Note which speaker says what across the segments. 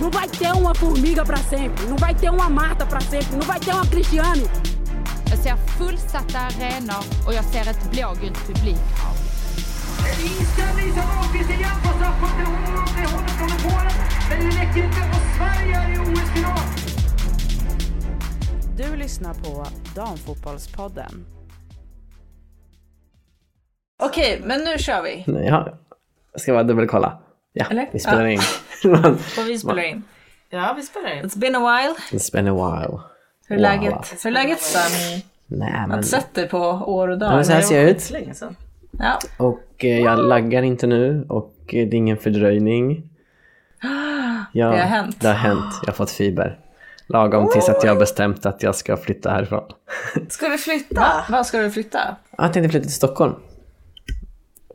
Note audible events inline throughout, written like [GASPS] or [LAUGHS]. Speaker 1: Não vai ter uma formiga para sempre, não vai ter uma Marta para sempre, não vai ter uma Cristiane.
Speaker 2: Jag ser fullsatta arenor och jag ser ett blågult publikhav.
Speaker 3: Inställning som Ahlqvist igen på straffpunkten. Hon håller från Polen, men det räcker inte. Och Sverige är i OS-final.
Speaker 4: Du lyssnar på Damfotbollspodden.
Speaker 5: Okej, men nu kör vi.
Speaker 6: Nej, Ja. Jag ska bara dubbelkolla. Ja,
Speaker 5: Eller?
Speaker 6: vi spelar
Speaker 5: Ja.
Speaker 6: in. [LAUGHS]
Speaker 5: Och vi spelar in.
Speaker 4: Ja, vi spelar in.
Speaker 5: It's been a while.
Speaker 6: It's been a while.
Speaker 5: Hur är
Speaker 6: Wow.
Speaker 5: läget? Hur är läget Sam?
Speaker 6: Nej,
Speaker 5: Jag har
Speaker 6: men...
Speaker 5: inte sett dig på år och
Speaker 6: Ja, men
Speaker 5: dag.
Speaker 6: så här ser jag ut.
Speaker 4: Länge sedan.
Speaker 5: Ja.
Speaker 6: Och eh, jag laggar inte nu och eh, det är
Speaker 5: [GASPS]
Speaker 6: ingen fördröjning. Ja,
Speaker 5: Det har hänt.
Speaker 6: Det har hänt. Jag har fått fiber. Lagom tills att jag har bestämt att jag ska flytta härifrån.
Speaker 5: Ska du flytta? Var ska du flytta?
Speaker 6: Jag tänkte flytta till Stockholm.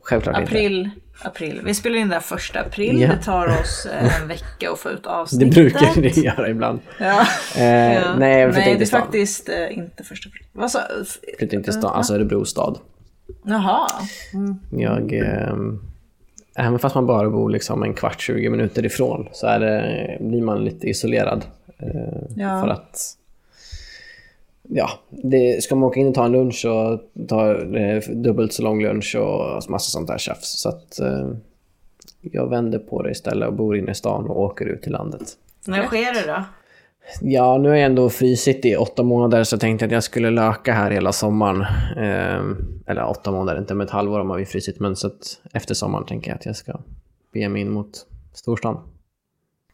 Speaker 6: Självklart inte.
Speaker 5: April. April. Vi spelar in den första april.
Speaker 6: Ja.
Speaker 5: Det tar oss eh, en vecka att få ut
Speaker 6: Det
Speaker 5: avsnittet.
Speaker 6: brukar det göra ibland.
Speaker 5: [LAUGHS] Ja. Ja.
Speaker 6: Eh, Nej, jag flyttar
Speaker 5: Nej,
Speaker 6: inte
Speaker 5: det är
Speaker 6: till stan.
Speaker 5: faktiskt eh, inte första april. Vad sa... f-
Speaker 6: Flyttar inte till stan, alltså Örebro stad.
Speaker 5: Jaha.
Speaker 6: Jag... Eh, även fast man bara bor liksom en kvart, 20 minuter ifrån så är det, blir man lite isolerad. Eh,
Speaker 5: Ja.
Speaker 6: För att... Ja, det, ska man åka in och ta en lunch och ta eh, dubbelt så lång lunch och massa sånt där tjafs. Så att... Eh, jag vänder på det istället och bor inne i stan och åker ut till landet.
Speaker 4: När sker det då?
Speaker 6: Ja, nu har jag ändå frysit i åtta månader så jag tänkte att jag skulle löka här hela sommaren. Eh, eller åtta månader, inte men ett halvår har vi frysit. Men så att efter sommaren tänker jag att jag ska bege mig in mot storstan.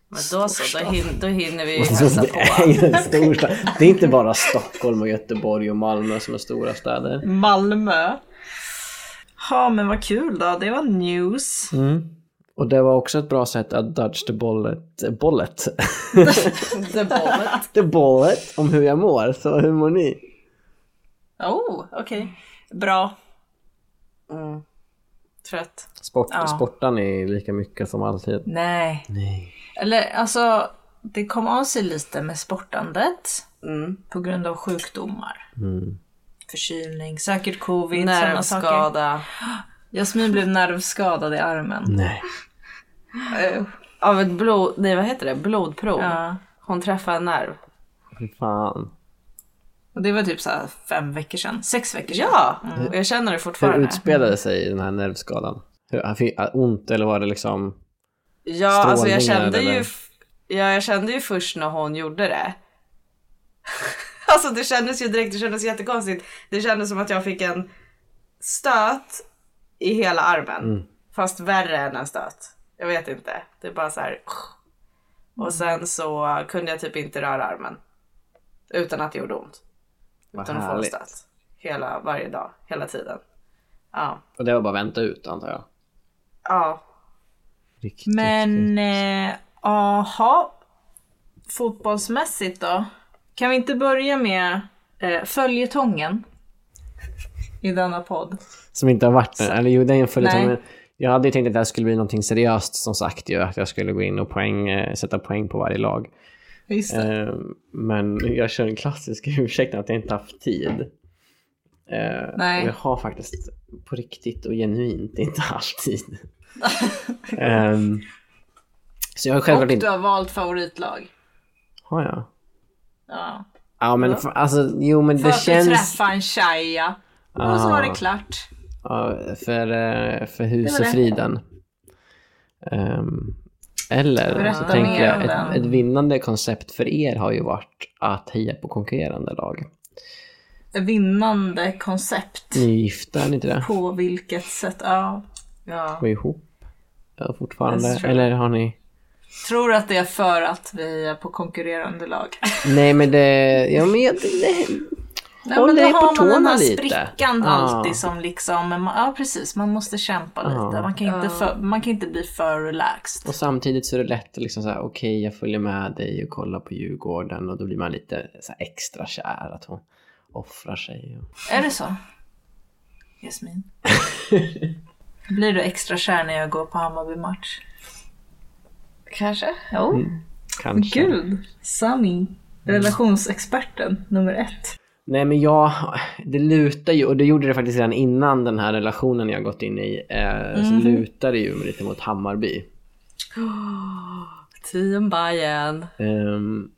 Speaker 4: Men då så, då, hin- då hinner
Speaker 6: [LAUGHS]
Speaker 4: vi hälsa
Speaker 6: Det
Speaker 4: på.
Speaker 6: är ju en storstan. Det är inte bara Stockholm och Göteborg och Malmö som är stora städer.
Speaker 5: Malmö. Ja, men vad kul då. Det var news.
Speaker 6: Mm. Och det var också ett bra sätt att dodge the bullet, bullet, [LAUGHS]
Speaker 5: The bullet.
Speaker 6: the bullet om hur jag mår. Så hur mår ni?
Speaker 5: Oh, okej. Bra.
Speaker 4: Mm. Trött.
Speaker 6: Sport,
Speaker 5: Ja.
Speaker 6: Sportar ni lika mycket som alltid?
Speaker 5: Nej.
Speaker 6: Nej.
Speaker 5: Eller alltså, det kom av sig lite med sportandet.
Speaker 4: Mm.
Speaker 5: På grund av sjukdomar. Förkylning, säkert covid, sådana saker.
Speaker 4: Nervskada.
Speaker 5: Jasmin blev nervskadad i armen.
Speaker 6: Nej.
Speaker 5: Eh,
Speaker 4: Av ett blod... Nej, vad heter det? Blodprov.
Speaker 5: Ja.
Speaker 4: Hon träffade en nerv.
Speaker 6: Fy Fan.
Speaker 5: Och det var typ så här fem veckor sedan, sex veckor sedan.
Speaker 4: Ja, Mm. och jag känner det
Speaker 6: Hur
Speaker 4: fortfarande.
Speaker 6: utspelade sig den här nervskadan? Hur, han fick ah, ont eller var det liksom...
Speaker 4: Ja, alltså jag
Speaker 6: Strålningen,
Speaker 4: kände ju...
Speaker 6: eller?
Speaker 4: f- Ja, jag kände ju först när hon gjorde det. [LAUGHS] alltså det kändes ju direkt, det kändes jättekonstigt. Det kändes som att jag fick en stöt i hela armen. Fast värre än en stöt. Jag vet inte. Det är bara så här. Och sen så kunde jag typ inte röra armen. Utan att det gjorde ont.
Speaker 6: Vad
Speaker 4: Utan att få en
Speaker 6: härligt.
Speaker 4: stöt. Hela, varje dag, hela tiden. Ja.
Speaker 6: Och det var bara vänta ut antar jag.
Speaker 4: Ja.
Speaker 6: Riktigt.
Speaker 5: Men, eh, aha. Fotbollsmässigt då? Kan vi inte börja med eh, följetongen? I denna podd.
Speaker 6: Som inte har varit där. Eller jo, det är en följetong.
Speaker 5: Nej.
Speaker 6: men Jag hade ju tänkt att det här skulle bli någonting seriöst som sagt ju. Att jag skulle gå in och poäng, eh, sätta poäng på varje lag.
Speaker 5: Just
Speaker 6: Eh, Men jag kör den [LAUGHS] klassiska ursäkten att jag inte haft tid. Eh,
Speaker 5: Nej.
Speaker 6: Och jag har faktiskt på riktigt och genuint inte [LAUGHS] haft tid. Ehm, så jag har självklart
Speaker 5: Och
Speaker 6: inte...
Speaker 5: du har valt favoritlag.
Speaker 6: Har jag?
Speaker 5: Ja.
Speaker 6: Ja men för, alltså, jo men
Speaker 5: För
Speaker 6: det
Speaker 5: att
Speaker 6: känns...
Speaker 5: du träffade en tjeja. Och så var det
Speaker 6: Ah.
Speaker 5: klart.
Speaker 6: Ja, för, eh, för
Speaker 5: Det
Speaker 6: hus
Speaker 5: var
Speaker 6: och
Speaker 5: det.
Speaker 6: friden. Ehm, eller så
Speaker 5: Berätta
Speaker 6: tänker
Speaker 5: mer
Speaker 6: jag,
Speaker 5: om den.
Speaker 6: ett, ett vinnande koncept för er har ju varit att heja på konkurrerande lag.
Speaker 5: Vinnande koncept.
Speaker 6: Ni är gifta, är ni inte det?
Speaker 5: På vilket sätt? Ja.
Speaker 4: ja.
Speaker 6: Går ihop ja, fortfarande?
Speaker 5: That's true.
Speaker 6: Eller har ni?
Speaker 5: Tror att det är för att vi är på konkurrerande lag.
Speaker 6: Nej men det, ja men jag, det,
Speaker 5: Nej,
Speaker 6: Håll
Speaker 5: men då
Speaker 6: dig på
Speaker 5: har man den
Speaker 6: tårna
Speaker 5: här
Speaker 6: lite.
Speaker 5: sprickan
Speaker 6: Ja.
Speaker 5: alltid som liksom, men man, ja precis, man måste kämpa lite. Man kan, inte för, man kan inte bli för relaxed.
Speaker 6: och samtidigt så är det lätt att liksom så här, okej jag följer med dig och kollar på Djurgården och då blir man lite så här extra kär att hon offrar sig. Och...
Speaker 5: Är det så? Jasmin? Blir du extra kär när jag går på Hammarby-match?
Speaker 4: Kanske.
Speaker 5: Jo,
Speaker 6: Mm, Kanske.
Speaker 5: gud. Sami, relationsexperten nummer ett.
Speaker 6: Nej men jag, det lutar ju och det gjorde det faktiskt redan innan den här relationen jag
Speaker 5: Mhm.
Speaker 6: gått in i. Eh, Så lutar det ju lite mot Hammarby.
Speaker 4: Team Bayern.
Speaker 6: Ehm,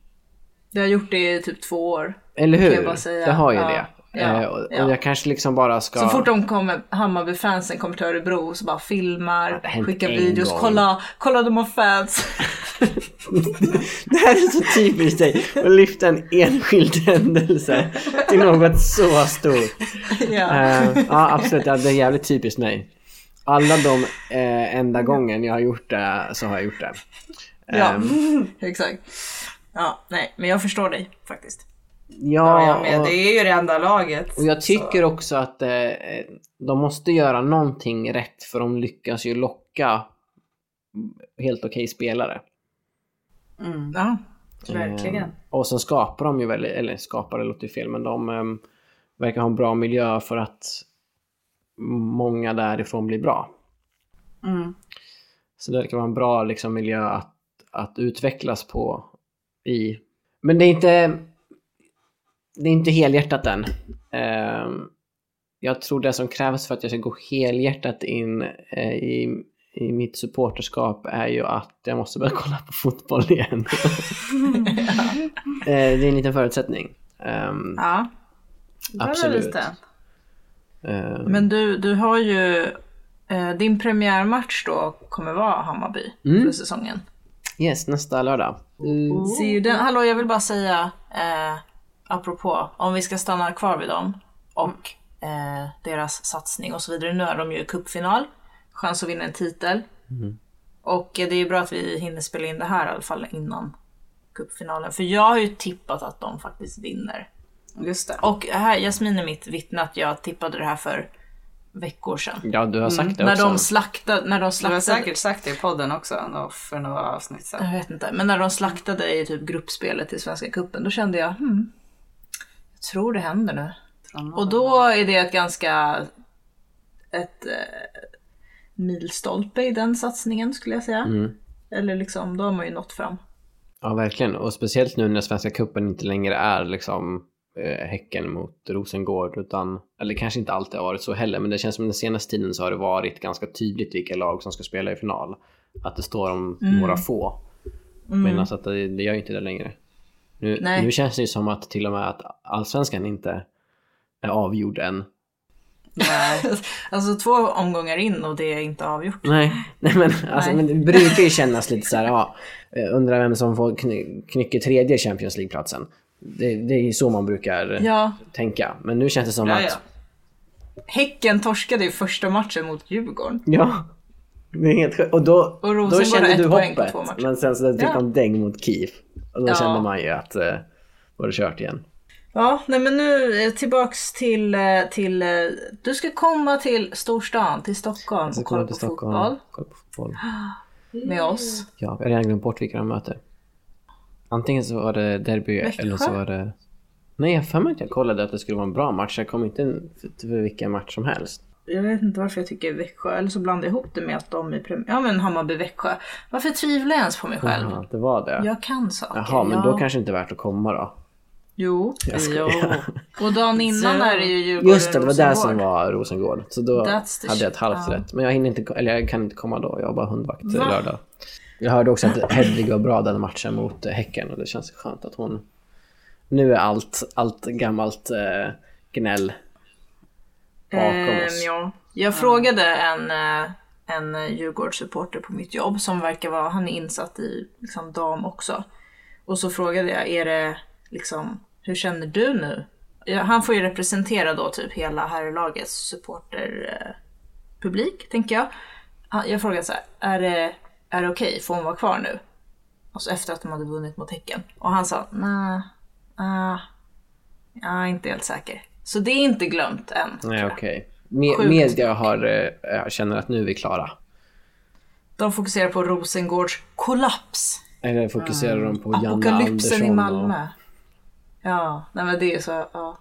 Speaker 5: Jag har gjort det i typ två år.
Speaker 6: eller
Speaker 5: Kan
Speaker 6: hur?
Speaker 5: jag bara säga.
Speaker 6: Det har ju
Speaker 5: Ja,
Speaker 6: det.
Speaker 5: ja,
Speaker 6: Eh, och,
Speaker 5: ja.
Speaker 6: och jag kanske liksom bara ska...
Speaker 5: Så fort de kommer, Hammarby-fansen kommer till Örebro så bara filmar,
Speaker 6: det har hänt
Speaker 5: skickar
Speaker 6: en
Speaker 5: videos,
Speaker 6: gång.
Speaker 5: kolla, kolla de har fans.
Speaker 6: [LAUGHS]
Speaker 5: [LAUGHS]
Speaker 6: Det här är så typiskt dig, att lyfta en enskild [LAUGHS] händelse till något så stort.
Speaker 5: ja.
Speaker 6: Eh, ja, absolut. Ja, det är jävligt typiskt mig. Alla de eh, enda gången jag har gjort det så har jag gjort det.
Speaker 5: Mm. ja,
Speaker 6: Ehm,
Speaker 5: [LAUGHS] exakt. Ja, nej, men jag förstår dig faktiskt.
Speaker 6: ja,
Speaker 4: Ja, jag med. Det är ju det enda laget.
Speaker 6: Och jag tycker också att eh, de måste göra någonting rätt för de lyckas ju locka helt okej spelare.
Speaker 5: Ja.
Speaker 4: Verkligen.
Speaker 6: Eh, och sen skapar de ju väldigt, eller skapar det låter ju fel, men de eh, verkar ha en bra miljö för att många därifrån blir bra.
Speaker 4: Mm.
Speaker 6: Så det verkar vara en bra liksom, miljö att, att utvecklas på i. Men det är inte, det är inte helhjärtat än. Eh, jag tror det som krävs för att jag ska gå helhjärtat in eh, i, i mitt supporterskap är ju att jag måste börja kolla på fotboll igen. Eh, det är en liten förutsättning. Ehm,
Speaker 5: ja.
Speaker 6: absolut.
Speaker 4: lite.
Speaker 6: Ehm,
Speaker 5: Men du, du har ju, eh, din premiärmatch då kommer vara Hammarby för säsongen.
Speaker 6: yes, nästa lördag. Mm.
Speaker 5: Ser ju den, hallå jag vill bara säga, eh, apropå, om vi ska stanna kvar vid dem och eh, deras satsning och så vidare. Nu är de ju i cupfinal, chans att vinna en titel.
Speaker 6: Mm.
Speaker 5: Och eh, det är ju bra att vi hinner spela in det här i alla fall innan cupfinalen. För jag har ju tippat att de faktiskt vinner.
Speaker 4: Just det.
Speaker 5: Och här, Jasmin är mitt vittne att jag tippade det här för veckor sedan.
Speaker 6: Ja, du har sagt det
Speaker 5: När
Speaker 6: också.
Speaker 5: de slaktade, när de
Speaker 4: Du har
Speaker 5: slaktade
Speaker 4: säkert sagt det i podden också nå- för några avsnitt sedan.
Speaker 5: Jag vet inte, men när de slaktade i typ gruppspelet i Svenska Cupen, då kände jag, hmm, jag tror det händer nu. Och då är det ett ganska, ett eh, milstolpe i den satsningen skulle jag säga.
Speaker 6: Mm.
Speaker 5: Eller liksom, då har man ju nått fram.
Speaker 6: Ja, verkligen. Och speciellt nu när Svenska Cupen inte längre är liksom eh, Häcken mot Rosengård, utan, eller kanske inte alltid har varit så heller, men det känns som den senaste tiden så har det varit ganska tydligt vilka lag som ska spela i final. Att det står om några få.
Speaker 5: Mm.
Speaker 6: Men alltså att det, det gör ju inte det längre. Nu,
Speaker 5: Nej.
Speaker 6: nu känns det ju som att till och med att allsvenskan inte är avgjord än.
Speaker 4: Nej.
Speaker 5: alltså två omgångar in och det är inte avgjort.
Speaker 6: Nej, [LAUGHS] nej men, alltså,
Speaker 5: Nej.
Speaker 6: men det brukar ju kännas lite så här, ja, eh, undrar vem som får kny- knycker tredje Champions League-platsen. Det, det är ju så man brukar
Speaker 5: Ja,
Speaker 6: tänka. Men nu känns det som
Speaker 4: Ja,
Speaker 6: att...
Speaker 4: ja.
Speaker 5: Häcken torskade i första matchen mot Djurgården.
Speaker 6: Ja. Det är helt sjukt. Och då,
Speaker 5: Och Rosengård
Speaker 6: då
Speaker 5: har
Speaker 6: kände
Speaker 5: ett
Speaker 6: du
Speaker 5: poäng på
Speaker 6: hoppet.
Speaker 5: två matcher.
Speaker 6: Men sen så fick
Speaker 5: Ja.
Speaker 6: de däng mot KIF. Och då
Speaker 5: Ja.
Speaker 6: kände man ju att eh, var det kört igen.
Speaker 5: Ja, nej men nu eh, tillbaks till, eh, till eh, du ska komma till storstan, till Stockholm och kolla på fotboll
Speaker 6: Kolla på fotboll.
Speaker 5: med oss.
Speaker 6: Ja, jag har redan glömt bort vilka de möter. Antingen så var det derby
Speaker 5: Växjö?
Speaker 6: eller så var det... Nej, jag har för mig att jag kollade att det skulle vara en bra match. Jag kom inte in för, för vilken match som helst.
Speaker 5: Jag vet inte varför jag tycker Växjö, eller så blandar jag ihop det med att de är premiär... Ja men Hammarby-Växjö. Varför tvivlar jag ens på mig själv?
Speaker 6: Jaha, det var det.
Speaker 5: Jag kan saker.
Speaker 6: Jaha, men
Speaker 5: jag...
Speaker 6: då kanske det inte är värt att komma då.
Speaker 5: Jo.
Speaker 6: skojar.
Speaker 5: Och dagen innan
Speaker 4: Så-
Speaker 5: är det ju Djurgården
Speaker 6: Just det, det var där som
Speaker 5: Rosengård.
Speaker 6: var Rosengård. Så då hade
Speaker 5: That's the
Speaker 6: jag ett
Speaker 5: shit,
Speaker 6: halvt
Speaker 5: ja.
Speaker 6: rätt. Men jag, hinner inte, eller jag kan inte komma då, jag har bara hundvakt
Speaker 5: Va?
Speaker 6: lördag. Jag hörde också att Hedvig var bra den matchen mot eh, Häcken och det känns skönt att hon... Nu är allt, allt gammalt eh, gnäll bakom
Speaker 5: Ehm,
Speaker 6: oss.
Speaker 5: ja. Jag frågade en, eh, en Djurgårdssupporter på mitt jobb som verkar vara, han är insatt i liksom, dam också. Och så frågade jag, är det liksom, hur känner du nu? Ja, Han får ju representera då typ hela herrlagets supporterpublik, tänker jag. Han- Jag frågade så här, är det, är det okej, får hon vara kvar nu? Och så efter att de hade vunnit mot Häcken. Och han sa, nej, ah, jag är inte helt säker. Så det är inte glömt än. tror
Speaker 6: Nej,
Speaker 5: jag.
Speaker 6: okej. Me-
Speaker 5: Sjukt.
Speaker 6: Media har, eh, jag känner att nu är vi klara.
Speaker 5: De fokuserar på Rosengårds kollaps.
Speaker 6: Eller fokuserar de på Janne
Speaker 5: Apokalypsen
Speaker 6: Andersson?
Speaker 5: i
Speaker 6: och-
Speaker 5: Malmö. Ja, nej men det är så, ja.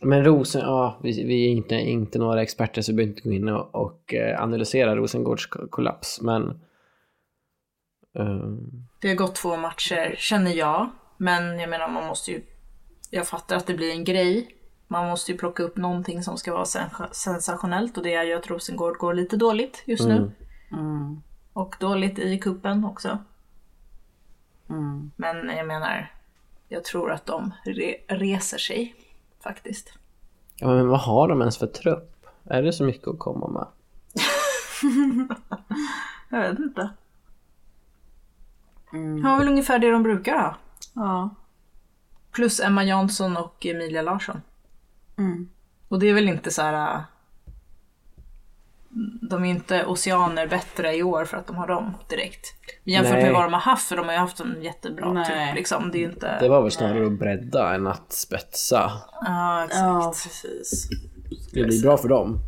Speaker 6: Men Rosen, ja, vi, vi är inte, inte några experter så vi behöver inte gå in och, och eh, analysera Rosengårds ko- kollaps. Men eh,
Speaker 5: Det har gått två matcher, känner jag. Men jag menar, man måste ju... Jag fattar att det blir en grej. Man måste ju plocka upp någonting som
Speaker 6: Mm.
Speaker 5: ska vara sen- sensationellt och det är ju att Rosengård går lite dåligt just nu. Och och dåligt i kuppen också.
Speaker 6: Mm.
Speaker 5: Men jag menar, jag tror att de re- reser sig faktiskt.
Speaker 6: Ja, men vad har de ens för trupp? Är det så mycket att komma med?
Speaker 5: Jag vet inte. Det var väl ungefär det de brukar ha.
Speaker 4: Mm. Ja.
Speaker 5: Plus Emma Jansson och Emilia Larsson.
Speaker 4: Mm.
Speaker 5: Och det är väl inte så här... äh, De är inte oceaner bättre i år för att de har dem direkt. Jämfört
Speaker 6: Nej.
Speaker 5: med vad de har haft, för de har ju haft en jättebra
Speaker 4: Nej.
Speaker 5: trupp liksom. Det är ju inte...
Speaker 6: Det var väl snarare att bredda än att spetsa.
Speaker 5: Ja, exakt.
Speaker 4: Ja, precis.
Speaker 6: Det blir bra för dem.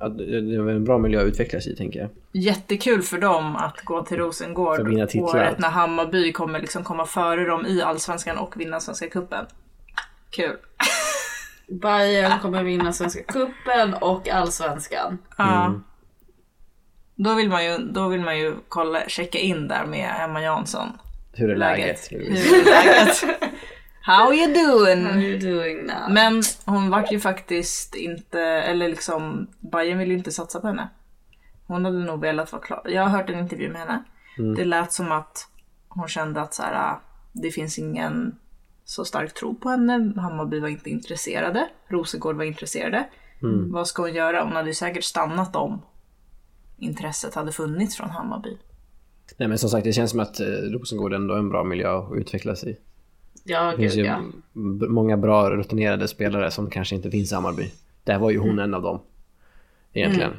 Speaker 6: Ja, Det det är väl en bra miljö att utvecklas i, tänker jag.
Speaker 5: Jättekul för dem att gå till Rosengård
Speaker 6: För att vinna titlar.
Speaker 5: året när Hammarby kommer liksom komma före dem i Allsvenskan och vinna Svenska cupen. Kul.
Speaker 4: Bayern kommer vinna Svenska Cupen och Allsvenskan.
Speaker 5: Ja. Då, vill man ju, då vill man ju kolla, checka in där med Emma Jansson.
Speaker 6: Hur är läget?
Speaker 5: Hur är läget? How you doing?
Speaker 4: How are you doing now?
Speaker 5: Men hon vart ju faktiskt inte, eller liksom, Bayern ville ju inte satsa på henne. Hon hade nog velat vara klar. Jag har hört en intervju med henne. Det lät som att hon kände att så här, ah, det finns ingen så stark tro på henne. Hammarby var inte intresserade. Rosengård var intresserade. Vad ska hon göra? Hon hade ju säkert stannat om intresset hade funnits från Hammarby.
Speaker 6: Nej, men som sagt, det känns som att eh, Rosengård ändå är en bra miljö att utvecklas i.
Speaker 4: ja,
Speaker 6: Det finns
Speaker 4: gud
Speaker 6: ju
Speaker 4: ja.
Speaker 6: b- många bra rutinerade spelare som kanske inte finns i Hammarby. Där var ju
Speaker 5: Mm.
Speaker 6: hon en av dem. Egentligen.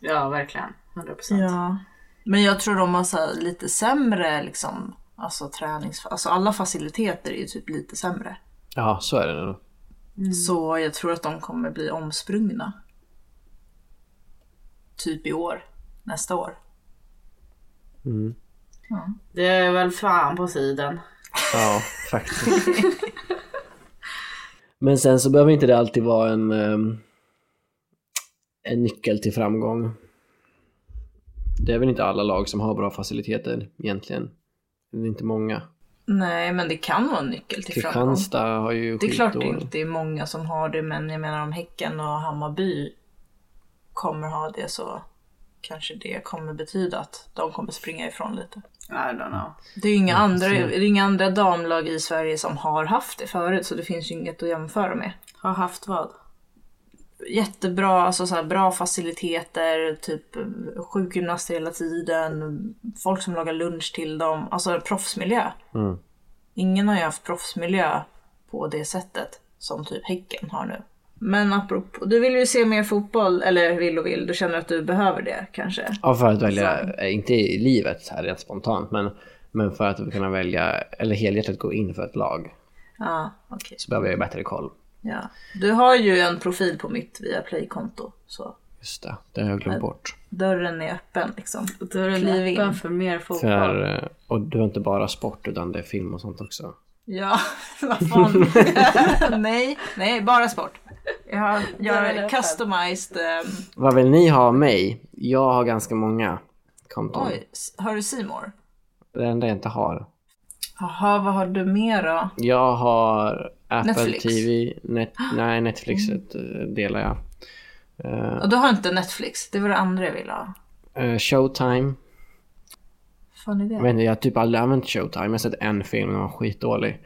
Speaker 4: Ja, verkligen. 100 procent.
Speaker 5: Ja. Men jag tror de har så här, lite sämre liksom, alltså tränings... Alltså alla faciliteter är ju typ lite sämre.
Speaker 6: Ja, så är det nog.
Speaker 5: Så jag tror att de kommer bli omsprungna. Typ i år. Nästa år.
Speaker 4: Det är väl fan på tiden.
Speaker 6: Ja,
Speaker 5: [LAUGHS]
Speaker 6: faktiskt. Men sen så behöver inte det alltid vara en, ehm, en nyckel till framgång. Det är väl inte alla lag som har bra faciliteter egentligen. Det är inte många.
Speaker 5: Nej, men det kan vara en nyckel till framgång.
Speaker 6: Kristianstad har ju
Speaker 5: Det är klart det
Speaker 6: skitdåligt.
Speaker 5: inte är många som har det, men jag menar om Häcken och Hammarby kommer ha det så kanske det kommer betyda att de kommer springa ifrån lite.
Speaker 4: I don't know.
Speaker 5: Det är ju inga, andra, det är inga andra damlag i Sverige som har haft det förut, så det finns ju inget att jämföra med.
Speaker 4: Har haft vad?
Speaker 5: jättebra, alltså så här, bra faciliteter, typ sjukgymnaster hela tiden, folk som lagar lunch till dem, alltså proffsmiljö.
Speaker 6: Mm.
Speaker 5: Ingen har ju haft proffsmiljö på det sättet som typ Häcken har nu. Men apropå, du vill ju se mer fotboll, eller vill och vill, du känner att du behöver det kanske?
Speaker 6: Ja, för att välja, eh, inte i livet så här rent spontant, men, men för att kunna välja, eller helhjärtat gå in för ett lag,
Speaker 5: Ja, okej.
Speaker 6: så behöver jag ju bättre koll.
Speaker 5: Ja. Du har ju en profil på mitt Viaplay-konto, så
Speaker 6: Just det, det har jag glömt bort.
Speaker 5: dörren är öppen liksom.
Speaker 4: Då är
Speaker 5: Kliv
Speaker 4: det
Speaker 5: in.
Speaker 4: öppen för mer
Speaker 5: Oh,
Speaker 4: fotboll.
Speaker 6: För, eh, och du har inte bara sport utan det är film och sånt också.
Speaker 5: Ja, [LAUGHS] vad
Speaker 4: [LAUGHS]
Speaker 5: fan. nej, nej, bara sport. Jag har, jag har customized. ehm,
Speaker 6: Vad vill ni ha av mig? Jag har ganska många konton.
Speaker 5: oj, s- har du Simor?
Speaker 6: Det enda jag inte har.
Speaker 5: Jaha, vad har du mer då?
Speaker 6: Jag har Apple
Speaker 5: Netflix.
Speaker 6: TV. Net, [GASPS] nej, Netflix eh, delar jag.
Speaker 5: Ja, du har inte Netflix, det var det andra jag ville ha.
Speaker 6: Eh, Showtime.
Speaker 5: fan är
Speaker 6: Jag,
Speaker 5: det?
Speaker 6: vet inte, jag har typ aldrig använt Showtime. Jag har sett en film och den var skitdålig.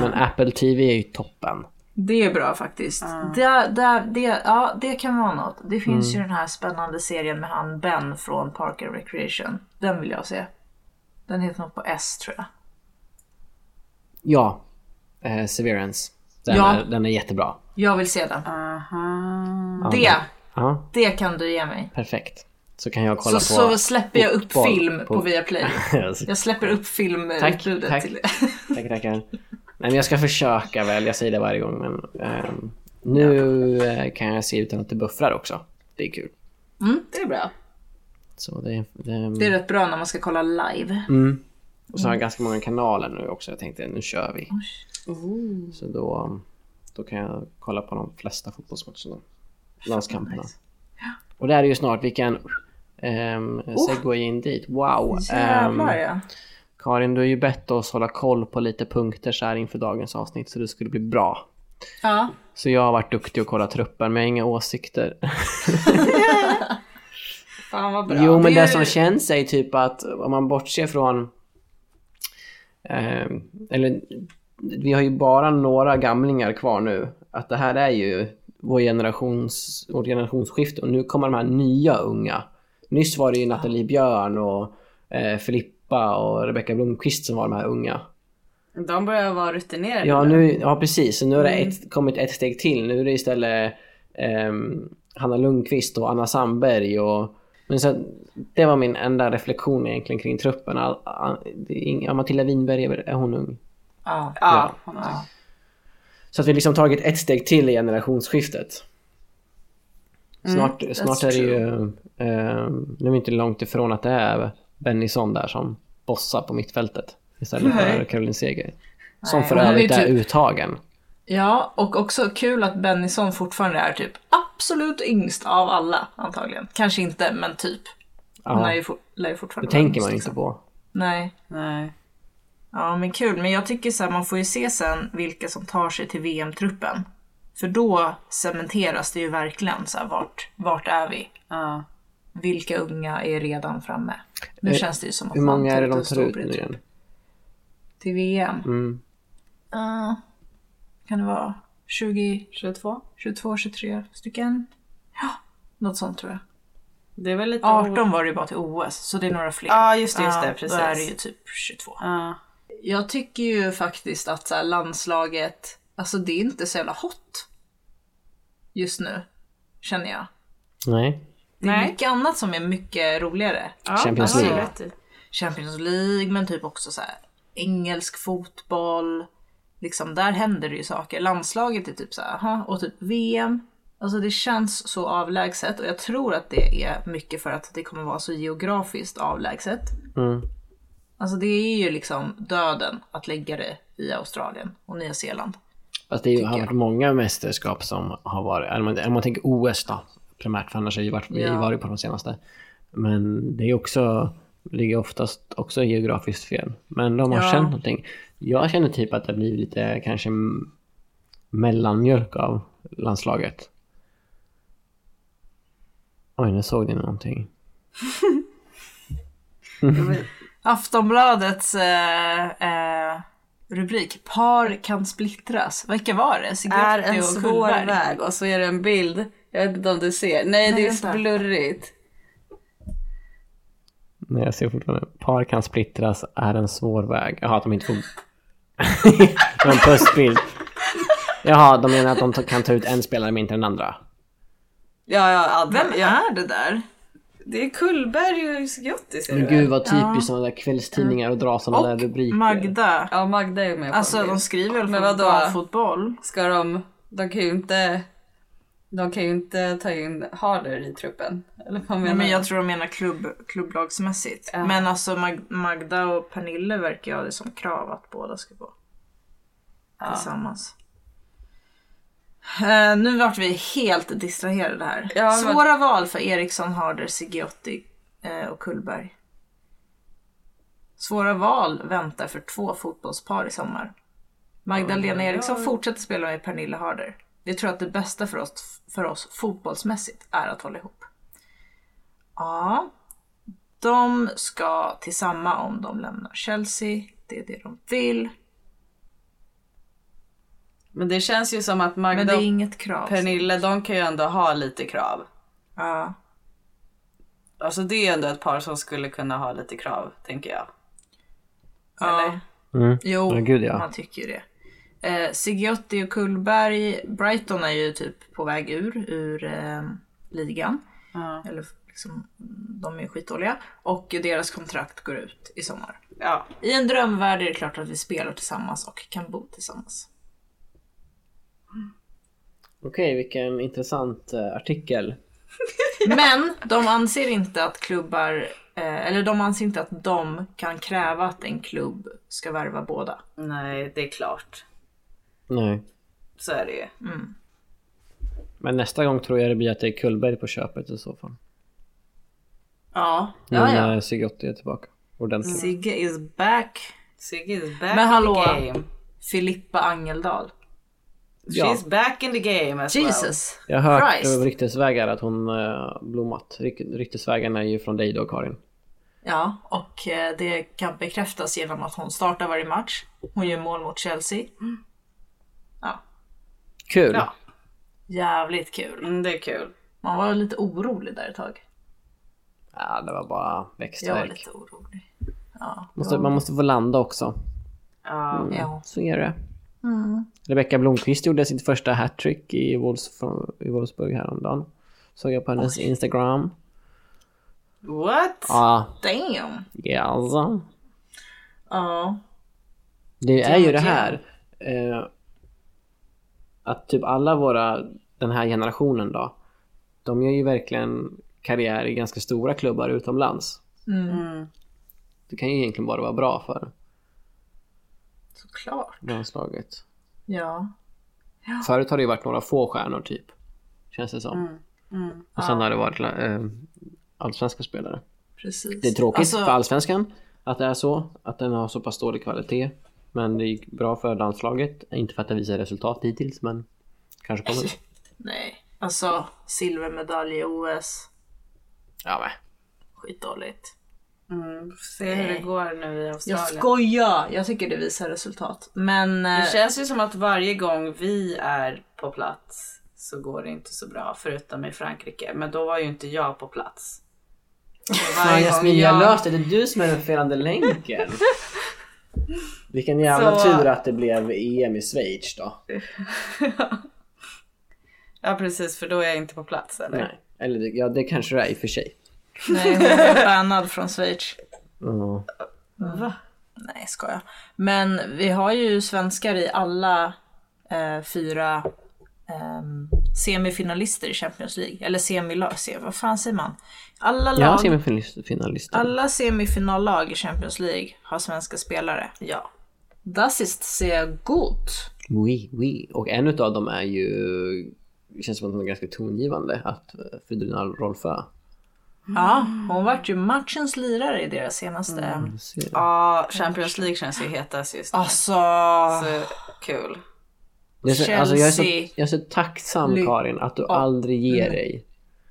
Speaker 5: [LAUGHS]
Speaker 6: men Apple TV är ju toppen.
Speaker 5: Det är bra faktiskt. Det, det, det, ja, det kan vara något. Det finns
Speaker 6: Mm.
Speaker 5: ju den här spännande serien med han Ben från Park and Recreation. Den vill jag se. Den heter något på S tror jag.
Speaker 6: Ja, eh, Severance. Den,
Speaker 5: Ja.
Speaker 6: är, den är jättebra.
Speaker 5: Jag vill se den.
Speaker 4: Aha.
Speaker 6: Ja,
Speaker 5: Det,
Speaker 6: Ja,
Speaker 5: det kan du ge mig.
Speaker 6: perfekt. Så kan jag kolla
Speaker 5: Så,
Speaker 6: på...
Speaker 5: så släpper jag upp
Speaker 6: fotboll
Speaker 5: film på,
Speaker 6: på- [LAUGHS]
Speaker 5: Viaplay. Jag släpper upp
Speaker 6: Tack,
Speaker 5: filmutbudet
Speaker 6: [LAUGHS] tack.
Speaker 5: till [LAUGHS]
Speaker 6: Tackar, tackar. Nej, men jag ska försöka väl. Jag säger det varje gång, men ehm, nu eh, kan jag se utan att det buffrar också. Det är kul.
Speaker 5: Mm,
Speaker 4: Det är bra.
Speaker 6: Så det, det,
Speaker 5: Det är rätt bra när man ska kolla live.
Speaker 6: Mm. Och så har jag ganska många kanaler nu också. Jag tänkte nu kör vi. Så då, um, då kan jag kolla på de flesta fotbollsmatcherna. Landskamperna. Och där är ju snart, vi kan um, segway in dit. Wow! Ehm,
Speaker 5: Oh! Jävlar ja.
Speaker 6: Karin, du har ju bett oss hålla koll på lite punkter så här inför dagens avsnitt så det skulle bli bra.
Speaker 4: Ja.
Speaker 6: [LAUGHS] Så jag har varit duktig och kollat truppen men jag har inga åsikter.
Speaker 4: Fan vad bra.
Speaker 6: Jo, men
Speaker 4: är
Speaker 6: det
Speaker 4: ju-
Speaker 6: som känns är ju typ att om man bortser från... Eh, eller vi har ju bara några gamlingar kvar nu. Att det här är ju vår generations, vårt generationsskifte och nu kommer de här nya unga. Nyss var det ju Nathalie Björn och eh, Filippa och Rebecca Blomqvist som var de här unga.
Speaker 4: De börjar vara rutinerade.
Speaker 6: Ja, nu, ja precis. Så nu har det
Speaker 5: Mm.
Speaker 6: ett, kommit ett steg till. Nu är det istället ehm, Hanna Lundqvist och Anna Sandberg. Och, men så, att- det var min enda reflektion egentligen kring truppen. All, all, det är ing- ja, Matilda Winberg, är, väl- är hon ung?
Speaker 5: Ja.
Speaker 4: Ja.
Speaker 6: Så att vi liksom tagit ett steg till i generationsskiftet.
Speaker 5: Mm,
Speaker 6: Snart, snart är det ju... ehm, nu är vi inte långt ifrån att det är Bennison där som bossar på mittfältet. Istället för Caroline Seger. Som för
Speaker 5: hon är ju
Speaker 6: övrigt är
Speaker 5: typ-
Speaker 6: uttagen.
Speaker 5: ja, och också kul att Bennison fortfarande är typ absolut yngst av alla antagligen. Kanske inte, men typ. Hon
Speaker 6: Ja.
Speaker 5: är ju, for, lär ju fortfarande
Speaker 6: Det
Speaker 5: vara
Speaker 6: tänker
Speaker 5: yngst,
Speaker 6: man ju
Speaker 5: liksom.
Speaker 6: inte på.
Speaker 5: Nej.
Speaker 4: Nej.
Speaker 5: Ja, men kul. Men jag tycker så här, man får ju se sen vilka som tar sig till VM-truppen. För då cementeras det ju verkligen så här, vart, vart är vi?
Speaker 4: Ja.
Speaker 5: Vilka unga är redan framme? Nu
Speaker 6: Eh,
Speaker 5: känns det ju som att
Speaker 6: Hur
Speaker 5: man
Speaker 6: många är det
Speaker 5: tagit
Speaker 6: de
Speaker 5: en
Speaker 6: tar
Speaker 5: stor
Speaker 6: ut
Speaker 5: bred
Speaker 6: nu
Speaker 5: trupp.
Speaker 6: igen?
Speaker 5: Till VM?
Speaker 6: Mm.
Speaker 5: Ja, kan det vara 20,
Speaker 4: 22?
Speaker 5: 22, 23 stycken? Ja, något sånt tror jag.
Speaker 4: Det är väl lite...
Speaker 5: 18 var det ju bara till OS, så det är några fler.
Speaker 4: Ja, just det, just det,
Speaker 5: Ja,
Speaker 4: precis.
Speaker 5: Då är det ju typ 22.
Speaker 4: Ja.
Speaker 5: Jag tycker ju faktiskt att så här, landslaget, alltså det är inte så jävla hot just nu, känner jag.
Speaker 6: Nej.
Speaker 5: Det är
Speaker 4: Nej.
Speaker 5: mycket annat som är mycket roligare.
Speaker 4: Ja,
Speaker 6: Champions
Speaker 4: det har
Speaker 6: League.
Speaker 4: du rätt i.
Speaker 5: Champions League, men typ också så här, engelsk fotboll. Liksom, där händer det ju saker. Landslaget är typ så här, aha, och typ VM. Alltså det känns så avlägset och jag tror att det är mycket för att det kommer vara så geografiskt avlägset.
Speaker 6: Mm.
Speaker 5: Alltså det är ju liksom döden att lägga det i Australien och Nya Zeeland.
Speaker 6: Fast det är ju- har
Speaker 5: Tycker
Speaker 6: varit många mästerskap som har varit, eller om man, om man tänker OS då, primärt, för annars har vi varit, vi har ju
Speaker 5: Ja.
Speaker 6: varit på de senaste. Men det är också, ligger oftast också geografiskt fel. Men de har
Speaker 5: Ja.
Speaker 6: känt någonting. Jag känner typ att det blir lite kanske m- mellanmjölk av landslaget. Oj, nu såg ni någonting.
Speaker 5: Aftonbladets eh, eh, rubrik Par kan splittras. Vilka var det? Sigge
Speaker 4: Är
Speaker 5: Otto
Speaker 4: en
Speaker 5: och
Speaker 4: svår
Speaker 5: Kullberg.
Speaker 4: väg. Och så är det en bild. Jag vet inte om du ser. Nej, det är
Speaker 5: vänta.
Speaker 4: blurrigt.
Speaker 6: Nej, jag ser fortfarande. Par kan splittras är en svår väg. Jaha, att de inte får... det var en pussbild. Jaha, de menar att de ta- kan ta ut en spelare men inte den andra.
Speaker 4: Ja, ja, Adde.
Speaker 5: Vem
Speaker 4: ja.
Speaker 5: är det där?
Speaker 4: Det är Kullberg och Sciotti ser
Speaker 6: Men
Speaker 4: du väl?
Speaker 6: gud vad typiskt sådana där kvällstidningar och dra sådana där rubriker.
Speaker 5: Magda.
Speaker 4: Ja, Magda är med på
Speaker 5: Alltså
Speaker 4: en bild.
Speaker 5: de skriver väl
Speaker 4: Men
Speaker 5: för
Speaker 4: vadå?
Speaker 5: damfotboll?
Speaker 4: Ska de... De kan ju inte... De kan ju inte ta in Harder i truppen. Eller vad menar
Speaker 5: Men jag
Speaker 4: du?
Speaker 5: tror de menar klubb, klubblagsmässigt.
Speaker 4: Ja.
Speaker 5: Men alltså Mag- Magda och Pernille verkar ju ha det som krav att båda ska gå tillsammans. Eh, nu vart vi helt distraherade här.
Speaker 4: Ja, men-
Speaker 5: Svåra val för Eriksson, Harder, Sigiotti eh, och Kullberg. Svåra val väntar för två fotbollspar i sommar. Magdalena Eriksson fortsätter spela med Pernilla Harder. Vi tror att det bästa för oss, för oss fotbollsmässigt är att hålla ihop. Ja, de ska till samma om de lämnar Chelsea. Det är det de vill.
Speaker 4: Men det känns ju som att
Speaker 5: Men
Speaker 4: Magda
Speaker 5: det är
Speaker 4: och
Speaker 5: inget krav.
Speaker 4: Pernilla, de kan ju ändå ha lite krav.
Speaker 5: Ja.
Speaker 4: Alltså det är ändå ett par som skulle kunna ha lite krav, tänker jag.
Speaker 5: ja.
Speaker 6: Mm.
Speaker 5: Jo,
Speaker 6: Ja, gud, ja.
Speaker 5: man tycker ju det. Eh, Sigiotti och Kullberg, Brighton är ju typ på väg ur, ur eh, ligan.
Speaker 4: Ja.
Speaker 5: Eller liksom, de är ju skitdåliga. Och deras kontrakt går ut i sommar.
Speaker 4: Ja.
Speaker 5: I en drömvärld är det klart att vi spelar tillsammans och kan bo tillsammans.
Speaker 6: Okej, vilken intressant eh, artikel.
Speaker 5: Men de anser inte att klubbar, eh, eller de anser inte att de kan kräva att en klubb ska värva båda.
Speaker 4: Nej, det är klart.
Speaker 6: Nej.
Speaker 4: Så är det ju.
Speaker 5: Mm.
Speaker 6: Men nästa gång tror jag det blir att det är Kullberg på köpet i så fall.
Speaker 5: Ja,
Speaker 6: Nu
Speaker 5: ja, ja.
Speaker 6: när Sigiotti är tillbaka. Ordentligt.
Speaker 5: Sigge is back.
Speaker 4: Sigge is back
Speaker 5: Men hallå.
Speaker 4: in the game.
Speaker 5: Filippa Angeldal.
Speaker 6: Ja.
Speaker 4: She's back in the game as well.
Speaker 5: Jesus.
Speaker 6: Jag har hört
Speaker 5: Christ.
Speaker 6: över ryktesvägar att hon eh, blommat. Ryk- Ryktesvägarna är ju från dig då Karin.
Speaker 5: Ja, och eh, det kan bekräftas genom att hon startar varje match. Hon gör mål mot Chelsea.
Speaker 4: Mm.
Speaker 5: Ja,
Speaker 6: Kul!
Speaker 4: Ja.
Speaker 5: jävligt kul.
Speaker 4: Mm, det är kul.
Speaker 5: Man var lite orolig där ett tag.
Speaker 6: Ja, det var bara
Speaker 5: Jag var
Speaker 6: växtverk.
Speaker 5: lite orolig. Ja,
Speaker 6: Måste, man måste få landa också.
Speaker 4: Ja.
Speaker 5: ja.
Speaker 6: Så är det. Mm. Rebecka Blomqvist gjorde sitt första hattrick i, Wolfs, i Wolfsburg häromdagen. Såg jag på hennes Instagram.
Speaker 4: What?
Speaker 6: Ja,
Speaker 5: Damn!
Speaker 6: yes.
Speaker 5: Ja,
Speaker 6: alltså. Det är ju det här. Eh, att typ alla våra, den här generationen då. De gör ju verkligen karriär i ganska stora klubbar utomlands.
Speaker 5: Mm.
Speaker 4: Mm.
Speaker 6: Det kan ju egentligen bara vara bra för
Speaker 5: såklart.
Speaker 6: landslaget.
Speaker 5: Ja.
Speaker 6: Förut har det ju varit några få stjärnor typ. Känns det som. Och sen har det varit eh, allsvenska spelare.
Speaker 5: Precis.
Speaker 6: Det är tråkigt
Speaker 5: Alltså,
Speaker 6: för allsvenskan att det är så. Att den har så pass dålig kvalitet. Men det gick bra för landslaget. Inte för att det visar resultat hittills men kanske kommer.
Speaker 5: [LAUGHS] Nej, alltså silvermedalj i OS.
Speaker 6: [LAUGHS] Ja, men.
Speaker 5: Skitdåligt.
Speaker 4: Mm, se hur det går nu i
Speaker 5: Jag
Speaker 4: Australien.
Speaker 5: skojar! Jag tycker det visar resultat. Men... eh,
Speaker 4: Det känns ju som att varje gång vi är på plats så går det inte så bra, förutom i Frankrike. Men då var ju inte jag
Speaker 5: [LAUGHS]
Speaker 4: på plats. Och
Speaker 6: Fan
Speaker 4: varje
Speaker 6: Jasmin,
Speaker 4: gång
Speaker 6: jag löste det. Det är du som är den felande [LAUGHS] länken. Vilken jävla
Speaker 4: Så-
Speaker 6: tur att det blev EM i Schweiz då.
Speaker 4: Ja precis, för då är jag inte på plats eller?
Speaker 6: Nej. Eller det- ja, det kanske det är i och för sig.
Speaker 5: Nej, hon blev bannad från Schweiz.
Speaker 6: Mm.
Speaker 5: Nej, ska jag. Men vi har ju svenskar i alla eh, fyra ehm, semifinalister i Champions League. Eller semilag, se, vad fan säger man? Alla,
Speaker 6: Ja,
Speaker 5: lag,
Speaker 6: semifinalister.
Speaker 5: alla semifinallag i Champions League har svenska spelare. Ja. Das ist sehr gut.
Speaker 6: Oui, oui. Och en utav dem är ju... Det känns som att hon är ganska tongivande. Att eh, Fridolina Rolfö.
Speaker 5: Ja, hon vart ju matchens lirare i deras senaste...
Speaker 6: Mm.
Speaker 4: Ja, Champions League känns ju hetast just nu.
Speaker 5: Alltså...
Speaker 4: Så kul.
Speaker 6: Jag är så, alltså, jag, är så,
Speaker 5: Chelsea.
Speaker 6: jag är så tacksam
Speaker 5: Ly-
Speaker 6: Karin att du aldrig ger dig.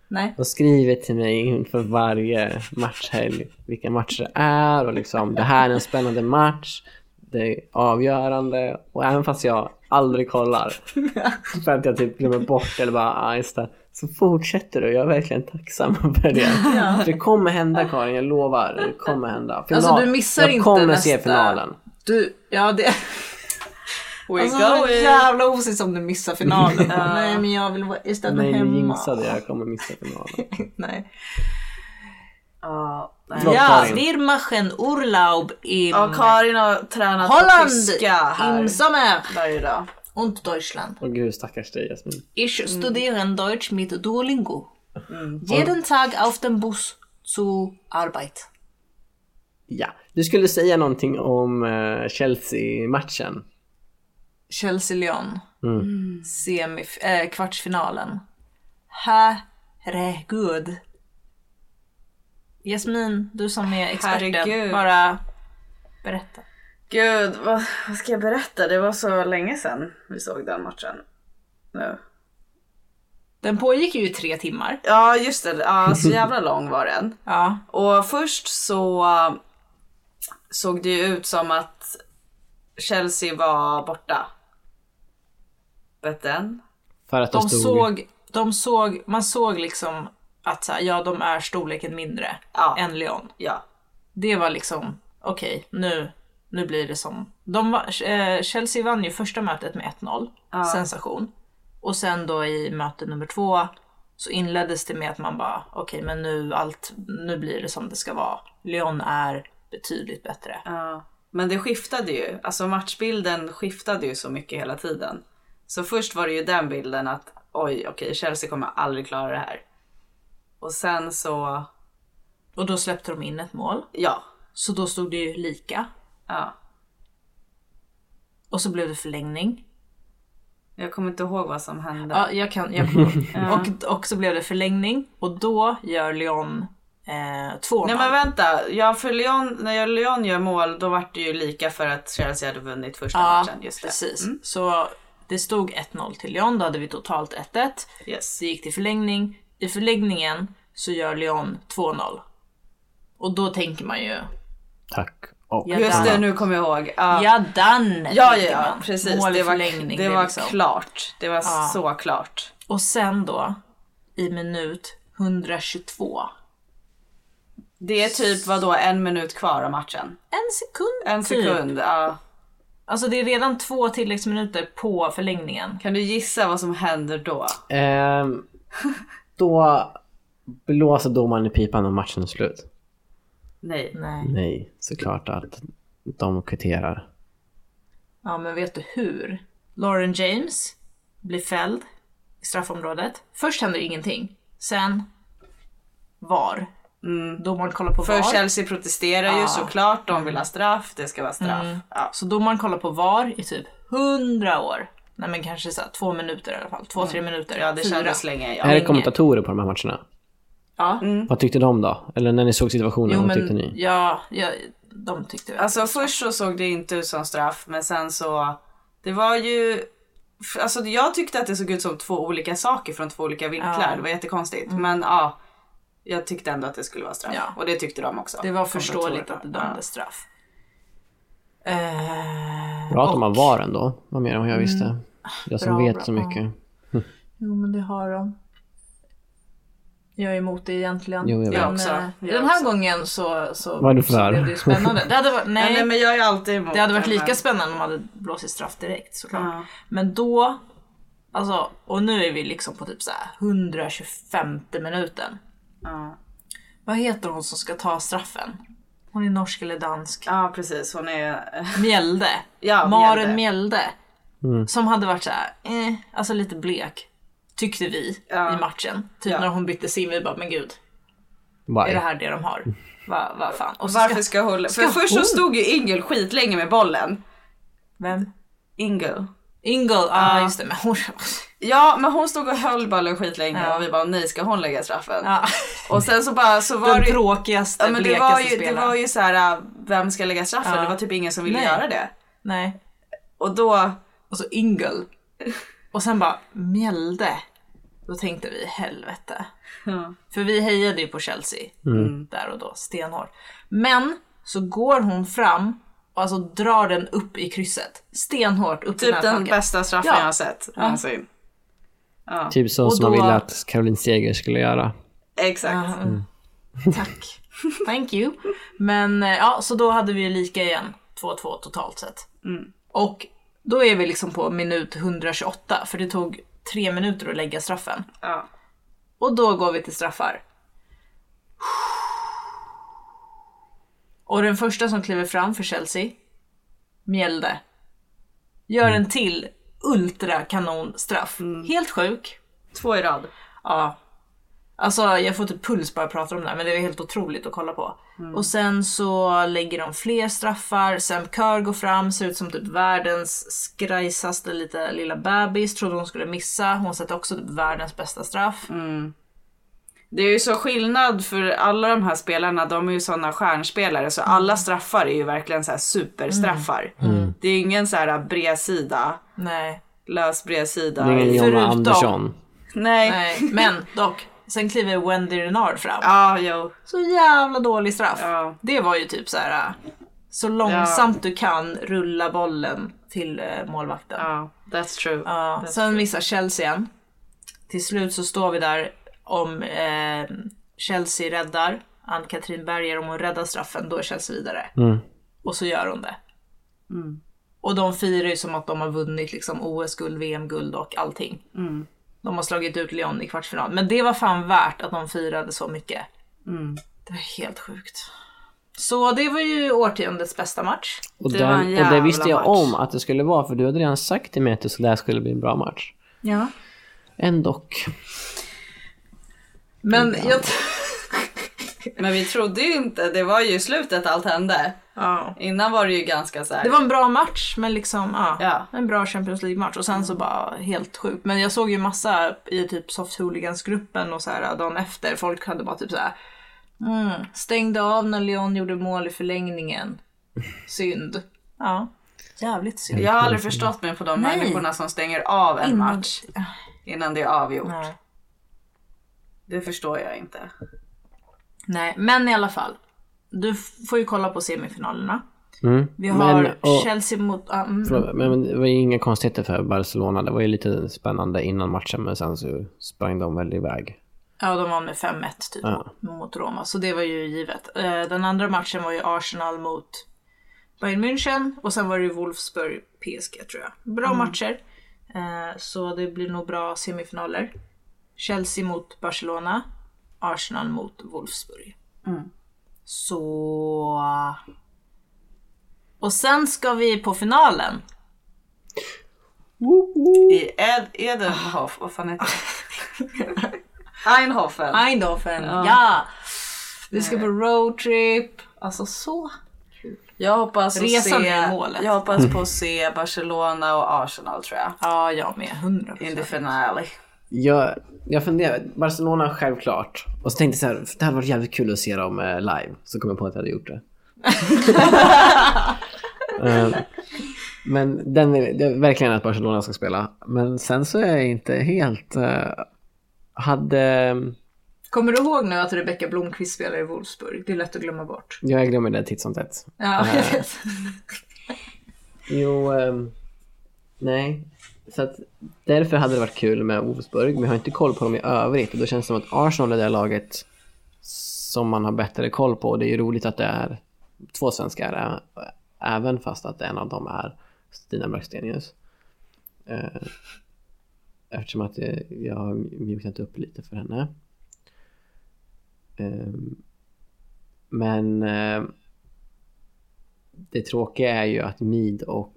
Speaker 5: Nej.
Speaker 6: De skriver till mig inför varje matchhelg vilka matcher det är och liksom det här är en spännande match. Det är avgörande och även fast jag aldrig kollar för att jag typ glömmer bort eller bara ah, just det. Så fortsätter du. Jag är verkligen tacksam [LAUGHS] för det. För det kommer hända Karin, jag lovar. Det kommer hända. Final.
Speaker 5: Alltså, du missar
Speaker 6: jag
Speaker 5: inte
Speaker 6: kommer se
Speaker 5: nästa-
Speaker 6: finalen.
Speaker 5: Du, ja det...
Speaker 4: We
Speaker 5: Alltså det var
Speaker 4: going!
Speaker 5: jävla osis om du missar finalen. Nej men jag vill vara istället
Speaker 6: Nej,
Speaker 5: hemma.
Speaker 6: nu jinxade jag. Jag kommer missa finalen.
Speaker 5: Nej.
Speaker 4: Ja, nej.
Speaker 6: Förlåt,
Speaker 5: Ja,
Speaker 6: Karin.
Speaker 5: wir machen Urlaub im
Speaker 4: Ja, Karin har tränat på
Speaker 5: Holland
Speaker 4: tyska här
Speaker 5: im Sommer
Speaker 4: varje dag.
Speaker 5: und Deutschland.
Speaker 6: Åh gud stackars dig Jasmin.
Speaker 5: Ich studiere Deutsch mit Duolingo. Jeden Tag auf dem Bus zur Arbeit.
Speaker 6: Ja, du skulle säga någonting om eh, Chelsea-matchen.
Speaker 5: Chelsea-Lyon. Semif- äh, kvartsfinalen. Herregud. Jasmin, du som är experten,
Speaker 4: Herregud.
Speaker 5: bara berätta.
Speaker 4: Gud, vad, vad ska jag berätta? Det var så länge sedan vi såg den matchen. Nu.
Speaker 5: Den pågick ju i tre timmar.
Speaker 4: Ja, just det. Ja, så jävla lång var den.
Speaker 5: Ja.
Speaker 4: Och först så äh, såg det ju ut som att Chelsea var borta. Vet den?
Speaker 6: För att de,
Speaker 5: De
Speaker 6: stod...
Speaker 5: såg, de såg, man såg liksom att så här, ja, de är storleken mindre
Speaker 4: Ja.
Speaker 5: än Lyon.
Speaker 4: Ja.
Speaker 5: Det var liksom, okej, nu, nu blir det som... De var, eh, Chelsea vann ju första mötet med 1-0, sensation. Och sen då i möte nummer två så inleddes det med att man bara, okej men nu, allt, nu blir det som det ska vara. Lyon är betydligt bättre.
Speaker 4: ja. Men det skiftade ju. Alltså matchbilden skiftade ju så mycket hela tiden. Så först var det ju den bilden att oj, okej, Chelsea kommer aldrig klara det här. Och sen så,
Speaker 5: Och då släppte de in ett mål,
Speaker 4: ja.
Speaker 5: så då stod det ju lika.
Speaker 4: ja.
Speaker 5: Och så blev det förlängning.
Speaker 4: Jag kommer inte ihåg vad som hände.
Speaker 5: Ja, jag kan. Jag kommer ihåg. och, och så blev det förlängning och då gör Lyon eh, två
Speaker 4: Nej
Speaker 5: mål.
Speaker 4: men vänta, ja, för Lyon, när Lyon gör mål då vart det Mm. ju lika för att Chelsea hade vunnit första
Speaker 5: Ja,
Speaker 4: matchen. Just det.
Speaker 5: precis. Så Det stod 1-0 till Lyon, då hade vi totalt 1-1.
Speaker 4: Yes.
Speaker 5: Det gick till förlängning. I förlängningen så gör Lyon 2-0. Och då tänker man ju,
Speaker 6: Tack. Och
Speaker 5: Ja,
Speaker 4: Just det,
Speaker 5: Jaddan.
Speaker 4: nu kommer jag ihåg. Ja, ja,
Speaker 5: ja done!
Speaker 4: ja,
Speaker 5: tänker
Speaker 4: ja
Speaker 5: man.
Speaker 4: precis.
Speaker 5: Mål i
Speaker 4: Det var,
Speaker 5: förlängning.
Speaker 4: det
Speaker 5: är
Speaker 4: var
Speaker 5: liksom.
Speaker 4: klart. Det var
Speaker 5: Ja.
Speaker 4: så klart.
Speaker 5: Och sen då, i minut 122.
Speaker 4: Det är typ vadå, en minut kvar av matchen?
Speaker 5: En sekund
Speaker 4: En sekund,
Speaker 5: Typ.
Speaker 4: ja.
Speaker 5: Alltså det är redan två tilläggsminuter på förlängningen.
Speaker 4: Kan du gissa vad som händer då?
Speaker 6: Ehm, då blåser domaren i pipan och matchen är slut.
Speaker 4: Nej.
Speaker 5: Nej.
Speaker 6: Nej, såklart att de kvitterar.
Speaker 5: Ja, men vet du hur? Lauren James blir fälld i straffområdet. Först händer ingenting. Sen VAR.
Speaker 4: Mm.
Speaker 5: Domaren kollar på
Speaker 4: För
Speaker 5: VAR.
Speaker 4: Chelsea protesterar ju
Speaker 5: Ja.
Speaker 4: såklart, de vill ha straff, det ska vara straff. Ja.
Speaker 5: Så domaren kollar på VAR i typ 100 år. Nej men kanske så här, två minuter i alla fall. Två, tre minuter.
Speaker 4: Mm. ja, det
Speaker 5: Fyra.
Speaker 4: kändes Mm. länge. Ja.
Speaker 6: Är det
Speaker 5: länge.
Speaker 6: kommentatorer på de här matcherna?
Speaker 5: Ja.
Speaker 6: Vad tyckte de då? Eller när ni såg situationen,
Speaker 5: Mm. Jo
Speaker 6: vad
Speaker 5: men
Speaker 6: tyckte ni?
Speaker 5: ja, ja, de tyckte väl.
Speaker 4: Alltså först så såg det inte ut som straff, men sen så, det var ju, f- alltså jag tyckte att det såg ut som två olika saker från två olika vinklar,
Speaker 5: Ja. Mm.
Speaker 4: det var jättekonstigt. Men ja, jag tyckte ändå att det skulle vara straff.
Speaker 5: Ja.
Speaker 4: Och det tyckte de också.
Speaker 5: det var förståeligt att det
Speaker 4: Kommentatorerna.
Speaker 5: dömdes straff. Eh,
Speaker 6: Bra att de
Speaker 5: och- Mm.
Speaker 6: har VAR ändå, vad mer än vad jag visste. jag som
Speaker 5: bra,
Speaker 6: vet
Speaker 5: bra,
Speaker 6: så
Speaker 5: ja.
Speaker 6: mycket.
Speaker 5: Jo men det har de. Jag är emot det egentligen.
Speaker 6: Jo, jag vet.
Speaker 5: Men,
Speaker 4: Jag också.
Speaker 5: eh,
Speaker 4: Jag
Speaker 5: den här
Speaker 4: också.
Speaker 5: gången så, så,
Speaker 6: Vad är du för?
Speaker 5: så blev det ju spännande. Det hade
Speaker 4: [LAUGHS]
Speaker 5: varit,
Speaker 4: Ja,
Speaker 5: nej,
Speaker 4: Nej men jag är alltid emot
Speaker 5: det hade varit
Speaker 4: det,
Speaker 5: lika
Speaker 4: men-
Speaker 5: spännande om de hade blåsit straff direkt såklart.
Speaker 4: Ja.
Speaker 5: Men då, alltså, och nu är vi liksom på typ så här 125 minuten.
Speaker 4: Ja.
Speaker 5: Vad heter hon som ska ta straffen? Hon är norsk eller dansk.
Speaker 4: Ja precis, hon är...
Speaker 5: [LAUGHS] Mjelde.
Speaker 4: [LAUGHS] Ja,
Speaker 5: Maren
Speaker 4: Mjelde.
Speaker 5: Mjelde.
Speaker 6: Mm.
Speaker 5: Som hade varit så här, eh, alltså lite blek. Tyckte vi
Speaker 4: Ja.
Speaker 5: i matchen. Typ
Speaker 4: Ja.
Speaker 5: när hon bytte sim, vi bara men gud.
Speaker 6: Why?
Speaker 5: Är det här det de har?
Speaker 6: Mm.
Speaker 5: Vad va fan? Och så
Speaker 4: Varför ska hon... För
Speaker 5: ska
Speaker 4: först så
Speaker 5: hon-
Speaker 4: stod ju Ingel skitlänge med bollen.
Speaker 5: Vem?
Speaker 4: Ingel.
Speaker 5: Ingle, ja ah, just det. Men hon...
Speaker 4: Ja men hon stod och höll bollen skitlänge
Speaker 5: Ja.
Speaker 4: och vi bara nej ska hon lägga straffen?
Speaker 5: Ja.
Speaker 4: Och sen så bara så var
Speaker 5: Den
Speaker 4: det
Speaker 5: tråkigaste,
Speaker 4: Ja men det
Speaker 5: blekaste
Speaker 4: var ju, det
Speaker 5: spelaren.
Speaker 4: var ju så här, äh, vem ska lägga straffen?
Speaker 5: Ja.
Speaker 4: Det var typ ingen som ville
Speaker 5: Nej.
Speaker 4: göra det.
Speaker 5: Nej.
Speaker 4: Och då,
Speaker 5: Och så
Speaker 4: [LAUGHS]
Speaker 5: Ingle. Och sen bara Mjelde. Då tänkte vi helvete. För vi hejade ju på Chelsea
Speaker 4: Mm.
Speaker 5: där och då, stenhårt. Men så går hon fram och alltså drar den upp i krysset. Stenhårt upp i
Speaker 4: typ den
Speaker 5: nättaket.
Speaker 4: bästa straffen
Speaker 5: Ja.
Speaker 4: jag har sett någonsin.
Speaker 6: Typ så
Speaker 5: Och
Speaker 6: som man
Speaker 5: då-
Speaker 6: ville att Caroline Seger skulle göra.
Speaker 4: Exakt.
Speaker 5: Ja, mm. Tack. Thank you. Men eh, ja, så då hade vi ju lika igen. 2-2 totalt sett. Och då är vi liksom på minut 128 för det tog tre minuter att lägga straffen.
Speaker 4: Ja.
Speaker 5: Och då går vi till straffar. Och den första som kliver fram för Chelsea, Mjelde, gör en till ultrakanonstraff. Helt sjuk.
Speaker 4: Två i rad.
Speaker 5: Ja. Alltså jag får typ puls bara jag pratar om det här, men det är helt otroligt att kolla på.
Speaker 4: Mm.
Speaker 5: Och sen så lägger de fler straffar, Sam Kerr går fram, ser ut som typ världens skrajsaste lite lilla bebis, trodde hon skulle missa. Hon sätter också typ världens bästa straff.
Speaker 4: Mm. Det är ju så skillnad för alla de här spelarna, de är ju sådana stjärnspelare så
Speaker 5: Mm.
Speaker 4: alla straffar är ju verkligen så här superstraffar.
Speaker 6: Mm.
Speaker 4: Det är ingen så här bredsida,
Speaker 5: Nej,
Speaker 4: lös bredsida.
Speaker 6: Det är ingen Jonna
Speaker 5: förutom-
Speaker 6: Andersson.
Speaker 4: Nej.
Speaker 5: nej, men dock. Sen kliver Wendy Renard fram.
Speaker 4: Ja, jo.
Speaker 5: Så jävla dålig straff.
Speaker 4: Ja.
Speaker 5: Det var ju typ så här. äh, så långsamt du kan rulla bollen till eh, målvakten.
Speaker 4: Ja, that's true.
Speaker 5: Ja, sen missar Chelsea en. Till slut så står vi där om eh, Chelsea räddar Ann-Katrin Berger, om hon räddar straffen, då är Chelsea vidare.
Speaker 6: Mm.
Speaker 5: Och så gör hon det.
Speaker 4: Mm.
Speaker 5: Och de firar ju som att de har vunnit liksom OS-guld, VM-guld och allting.
Speaker 4: Mm.
Speaker 5: De har slagit ut Lyon i kvartsfinal. Men det var fan värt att de firade så mycket.
Speaker 4: Mm.
Speaker 5: Det var helt sjukt. Så det var ju årtiondets bästa match.
Speaker 6: Och,
Speaker 4: Det
Speaker 6: den,
Speaker 4: var en
Speaker 6: och det
Speaker 4: jävla
Speaker 6: visste jag
Speaker 4: match.
Speaker 6: om att det skulle vara, för du hade redan sagt till mig att det så där skulle bli en bra match.
Speaker 5: Ja.
Speaker 6: Ändå.
Speaker 5: Men jag...
Speaker 4: Men vi trodde ju inte, det var ju i slutet allt hände.
Speaker 5: [LAUGHS] ja.
Speaker 4: Innan var det ju ganska så här.
Speaker 5: Det var en bra match, men liksom ja,
Speaker 4: Ja. Mm.
Speaker 5: en bra Champions League-match. Och sen så bara helt sjukt. Men jag såg ju massa i typ Soft Hooligans-gruppen och så här dagen efter. Folk hade bara typ så här.
Speaker 4: [LAUGHS]
Speaker 5: Mm, stängde av när Leon gjorde mål i förlängningen. Synd. Ja. Jävligt synd.
Speaker 4: Jag har aldrig förstått mig på de
Speaker 5: Nej.
Speaker 4: människorna som stänger av en
Speaker 5: Innan-
Speaker 4: match innan det är avgjort.
Speaker 5: Nej.
Speaker 4: Det förstår jag inte.
Speaker 5: Nej, men i alla fall. Du f- får ju kolla på semifinalerna.
Speaker 6: Mm.
Speaker 5: Vi har
Speaker 6: Men, och-
Speaker 5: Chelsea mot... ah, mm.
Speaker 6: Förlåt, Men, men det var ju inga konstigheter för Barcelona. Det var ju lite spännande innan matchen men sen så sprang de väl iväg.
Speaker 5: Ja, de vann med 5-1 typ
Speaker 6: Ja.
Speaker 5: mot Roma, så det var ju givet. Eh, Den andra matchen var ju Arsenal mot Bayern München och sen var det ju Wolfsburg PSG tror jag. Bra
Speaker 4: Mm.
Speaker 5: matcher. Eh, Så det blir nog bra semifinaler. Chelsea mot Barcelona, Arsenal mot Wolfsburg.
Speaker 4: Mm.
Speaker 5: Så... Och sen ska vi på finalen.
Speaker 4: I Ed, Edenhof, Ah, vad fan heter
Speaker 5: [LAUGHS]
Speaker 4: det? Einhofen.
Speaker 5: Eindhoven, ja! Vi ska på roadtrip. Alltså så
Speaker 4: Jag hoppas, att
Speaker 5: Resan
Speaker 4: se,
Speaker 5: är målet.
Speaker 4: jag hoppas på att se Barcelona och Arsenal tror jag.
Speaker 5: Ja, jag med. 100
Speaker 4: In the finale.
Speaker 6: Jag, jag funderar, Barcelona självklart. Och så tänkte jag så här, det hade varit jävligt kul att se dem eh, live. Så kom jag på att jag hade gjort det. Eh, men den, vill- det är verkligen att Barcelona ska spela. Men sen så är jag inte helt... eh, hade...
Speaker 5: Kommer du ihåg nu att Rebecka Blomqvist spelar i Wolfsburg? Det är lätt att glömma bort.
Speaker 6: Jag glömmer det titt som tätt.
Speaker 5: Ja, jag vet.
Speaker 6: Jo, ehm, nej. Så att därför hade det varit kul med Wolfsburg, men jag har inte koll på dem i övrigt. Och då känns det som att Arsenal är det laget som man har bättre koll på. Och det är ju roligt att det är två svenskar, ä- även fast att en av dem är Stina Blackstenius. Eh, Eftersom att eh, jag har mjuknat upp lite för henne. Ehm, Men ehm, det tråkiga är ju att Mid och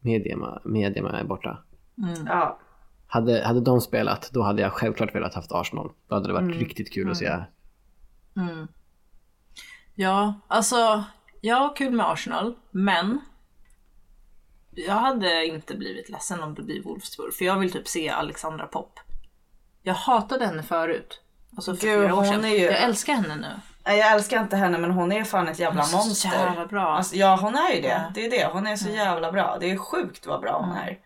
Speaker 6: Medema, Medema är borta.
Speaker 5: Mm.
Speaker 4: Ja.
Speaker 6: Hade, hade de spelat, då hade jag självklart velat haft Arsenal. Då hade det
Speaker 5: Mm.
Speaker 6: varit riktigt kul att se.
Speaker 5: Ja, alltså, ja, kul med Arsenal, men jag hade inte blivit ledsen om det blir Wolfsburg, för jag vill typ se Alexandra Popp. Jag hatade henne förut, alltså för
Speaker 4: Gud,
Speaker 5: fyra år
Speaker 4: hon
Speaker 5: sedan.
Speaker 4: är ju-
Speaker 5: Jag älskar henne nu.
Speaker 4: Nej, Jag älskar inte henne men hon är fan ett jävla
Speaker 5: Hon är så
Speaker 4: monster.
Speaker 5: jävla bra.
Speaker 4: Alltså, ja hon är ju det. Det är det. Hon är så jävla bra. Det är sjukt vad bra hon är.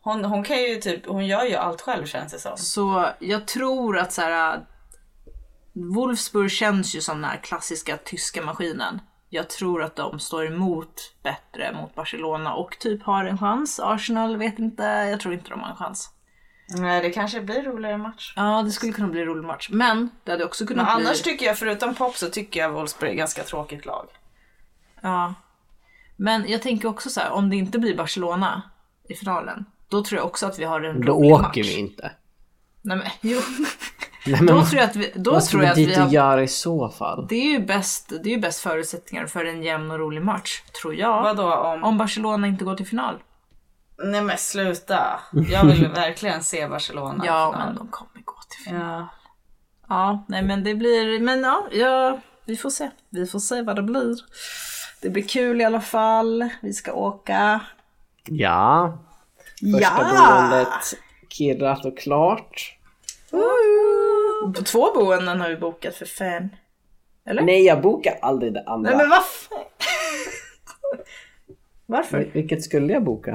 Speaker 4: Hon, hon kan ju typ, hon gör ju allt själv känns det som.
Speaker 5: Så jag tror att så här, Wolfsburg känns ju som den här klassiska tyska maskinen. Jag tror att de står emot bättre mot Barcelona och typ har en chans. Arsenal vet inte, jag tror inte de har en chans.
Speaker 4: Nej det kanske blir roligare match.
Speaker 5: Ja, det skulle kunna bli en rolig match. Men det hade också kunnat
Speaker 4: Men
Speaker 5: bli...
Speaker 4: annars tycker jag, förutom pop så tycker jag Wolfsburg är ett ganska tråkigt lag.
Speaker 5: Ja. Men jag tänker också så här, om det inte blir Barcelona i finalen, då tror jag också att vi har en
Speaker 6: Då
Speaker 5: rolig
Speaker 6: åker
Speaker 5: match.
Speaker 6: vi inte.
Speaker 5: Nej, men, jo.
Speaker 6: [LAUGHS] Nej, men
Speaker 5: Då
Speaker 6: vad-
Speaker 5: tror jag att vi, då
Speaker 6: vad ska
Speaker 5: tror
Speaker 6: vi
Speaker 5: jag att
Speaker 6: dit
Speaker 5: vi har
Speaker 6: och göra i så fall?
Speaker 5: Det är ju bäst, det är ju bäst förutsättningar för en jämn och rolig match, tror jag.
Speaker 4: Vadå om...
Speaker 5: Om Barcelona inte går till final.
Speaker 4: Nej men sluta. Jag vill verkligen se Barcelona.
Speaker 5: Ja, men de kommer gå till final.
Speaker 4: Ja.
Speaker 5: Ja, nej men det blir, men ja, ja, vi får se. Vi får se vad det blir. Det blir kul i alla fall. Vi ska åka.
Speaker 6: Ja. Första boendet kirrat och klart.
Speaker 5: På Två boenden har vi bokat för fan.
Speaker 6: Nej, jag bokar aldrig det andra.
Speaker 5: Nej men varför? [LAUGHS] varför?
Speaker 6: Vil- Vilket skulle jag boka?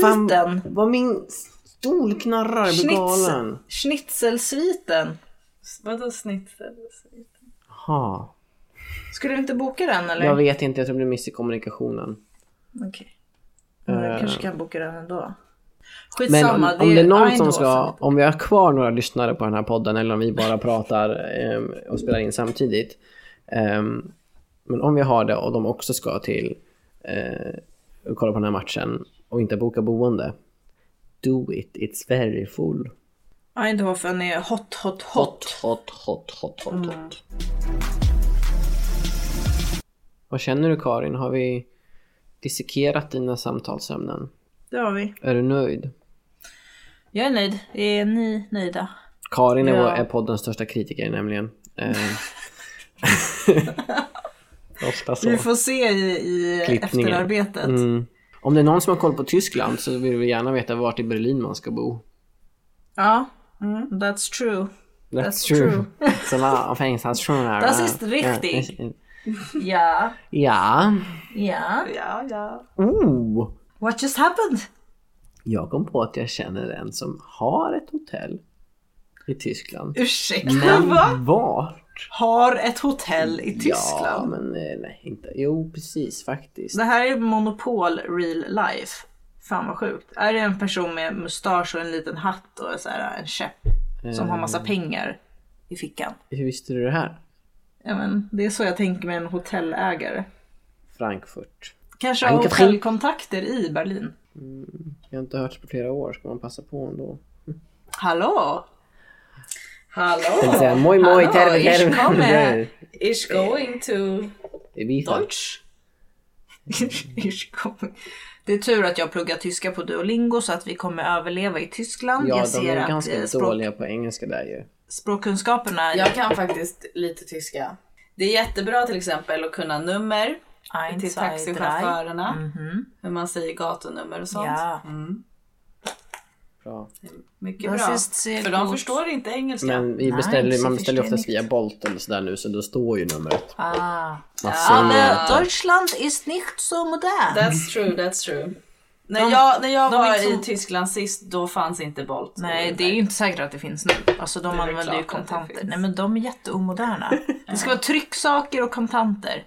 Speaker 6: Fan,
Speaker 5: Sviten.
Speaker 6: Vad min stol knarrar, jag blir
Speaker 5: Schnitzel,
Speaker 6: galen.
Speaker 5: schnitzelsviten.
Speaker 4: Vadå snitsel?
Speaker 6: Ha.
Speaker 5: Skulle vi inte boka den eller?
Speaker 6: Jag vet inte, jag tror det blir miss i kommunikationen.
Speaker 5: Okej. Men Jag kanske kan boka den ändå.
Speaker 6: Men
Speaker 5: Skitsamma,
Speaker 6: Eh. om, om det är någon som
Speaker 5: Eindhoven.
Speaker 6: ska, om vi har kvar några lyssnare på den här podden eller om vi bara pratar ehm, och spelar in samtidigt. ehm, men om vi har det och de också ska till eh, och kolla på den här matchen och inte boka boende. Do it, it's very full.
Speaker 5: Eindhoven är hot, hot, hot.
Speaker 6: hot, hot, hot, hot, hot. Vad känner du Karin? Har vi dissekerat dina samtalsämnen?
Speaker 5: Det har vi.
Speaker 6: Är du nöjd?
Speaker 5: Jag är nöjd. Är ni nöjda?
Speaker 6: Karin är,
Speaker 5: Ja.
Speaker 6: vår, är poddens största kritiker nämligen.
Speaker 5: [LAUGHS]
Speaker 6: Eh. Ofta så.
Speaker 5: Vi får se i, i
Speaker 6: Klippningen.
Speaker 5: efterarbetet.
Speaker 6: Mm. Om det är någon som har koll på Tyskland så vill vi gärna veta vart i Berlin man ska bo.
Speaker 5: Ja, Mm, that's true.
Speaker 6: That's,
Speaker 5: That's
Speaker 6: true. [LAUGHS]
Speaker 5: true.
Speaker 6: Så va, om fängelsehans-
Speaker 5: Das ist richtig.
Speaker 6: Ja,
Speaker 5: Ja,
Speaker 6: Ja.
Speaker 5: ja.
Speaker 4: Ja, ja.
Speaker 6: Oh.
Speaker 5: What just happened?
Speaker 6: Jag kom på att jag känner en som har ett hotell i Tyskland.
Speaker 5: Ursäkta, [LAUGHS]
Speaker 6: Men
Speaker 5: va?
Speaker 6: var?
Speaker 5: Har ett hotell i
Speaker 6: Ja,
Speaker 5: Tyskland?
Speaker 6: men eh, nej, inte. Jo, precis faktiskt.
Speaker 5: Det här är monopol real life. Fan vad sjukt. Är det en person med mustasch och en liten hatt och så här, en käpp som har massa pengar i fickan?
Speaker 6: Eh, Hur visste du det här?
Speaker 5: Ja, men det är så jag tänker med en hotellägare.
Speaker 6: Frankfurt.
Speaker 5: Kanske har
Speaker 6: Anke-Fri.
Speaker 5: hotellkontakter i Berlin.
Speaker 6: Jag har inte hört på flera år, ska man passa på ändå?
Speaker 5: Hallå!
Speaker 6: Jag tänkte
Speaker 4: Hallå!
Speaker 6: säga moj moj,
Speaker 5: Hallå,
Speaker 6: terve
Speaker 5: ich
Speaker 6: [LAUGHS]
Speaker 5: komme.
Speaker 6: terve.
Speaker 4: Is going to...
Speaker 6: Det är vi
Speaker 5: [LAUGHS]
Speaker 6: fan.
Speaker 4: Deutsch?
Speaker 5: Ich komme. Det är tur att jag pluggar tyska på Duolingo så att vi kommer överleva i Tyskland.
Speaker 6: Ja,
Speaker 5: jag
Speaker 6: de
Speaker 5: ser
Speaker 6: är
Speaker 5: att eh,
Speaker 6: ganska
Speaker 5: språk,
Speaker 6: dåliga på engelska där ju.
Speaker 5: språkkunskaperna...
Speaker 4: Jag kan faktiskt lite tyska. Det är jättebra till exempel att kunna nummer
Speaker 5: Eins,
Speaker 4: till
Speaker 5: zwei, drei. Mm,
Speaker 4: taxichaufförerna. Hur man säger gatunummer och sånt.
Speaker 5: Ja.
Speaker 4: Mm.
Speaker 6: Bra.
Speaker 4: Mycket
Speaker 5: Das
Speaker 4: bra.
Speaker 5: ist sehr
Speaker 4: För de
Speaker 5: gut.
Speaker 4: förstår inte engelska.
Speaker 6: Men vi
Speaker 5: Nej,
Speaker 6: beställer,
Speaker 5: så
Speaker 6: man beställer ju
Speaker 5: förstår
Speaker 6: oftast
Speaker 5: jag
Speaker 6: via Bolt eller sådär nu så då står ju numret.
Speaker 5: Ah.
Speaker 6: Man
Speaker 5: Aber
Speaker 6: säger inte.
Speaker 5: Deutschland ist nicht so modern.
Speaker 4: That's true, that's true. När
Speaker 5: De-
Speaker 4: jag, när jag
Speaker 5: de
Speaker 4: var
Speaker 5: liksom-
Speaker 4: i Tyskland sist, då fanns inte Bolt.
Speaker 5: Nej, det är ju inte säkert att det finns nu. Alltså de
Speaker 4: Det är
Speaker 5: använder
Speaker 4: klart
Speaker 5: ju
Speaker 4: att det
Speaker 5: kontanter.
Speaker 4: finns.
Speaker 5: Nej men de är jätteomoderna. Det ska vara trycksaker och kontanter.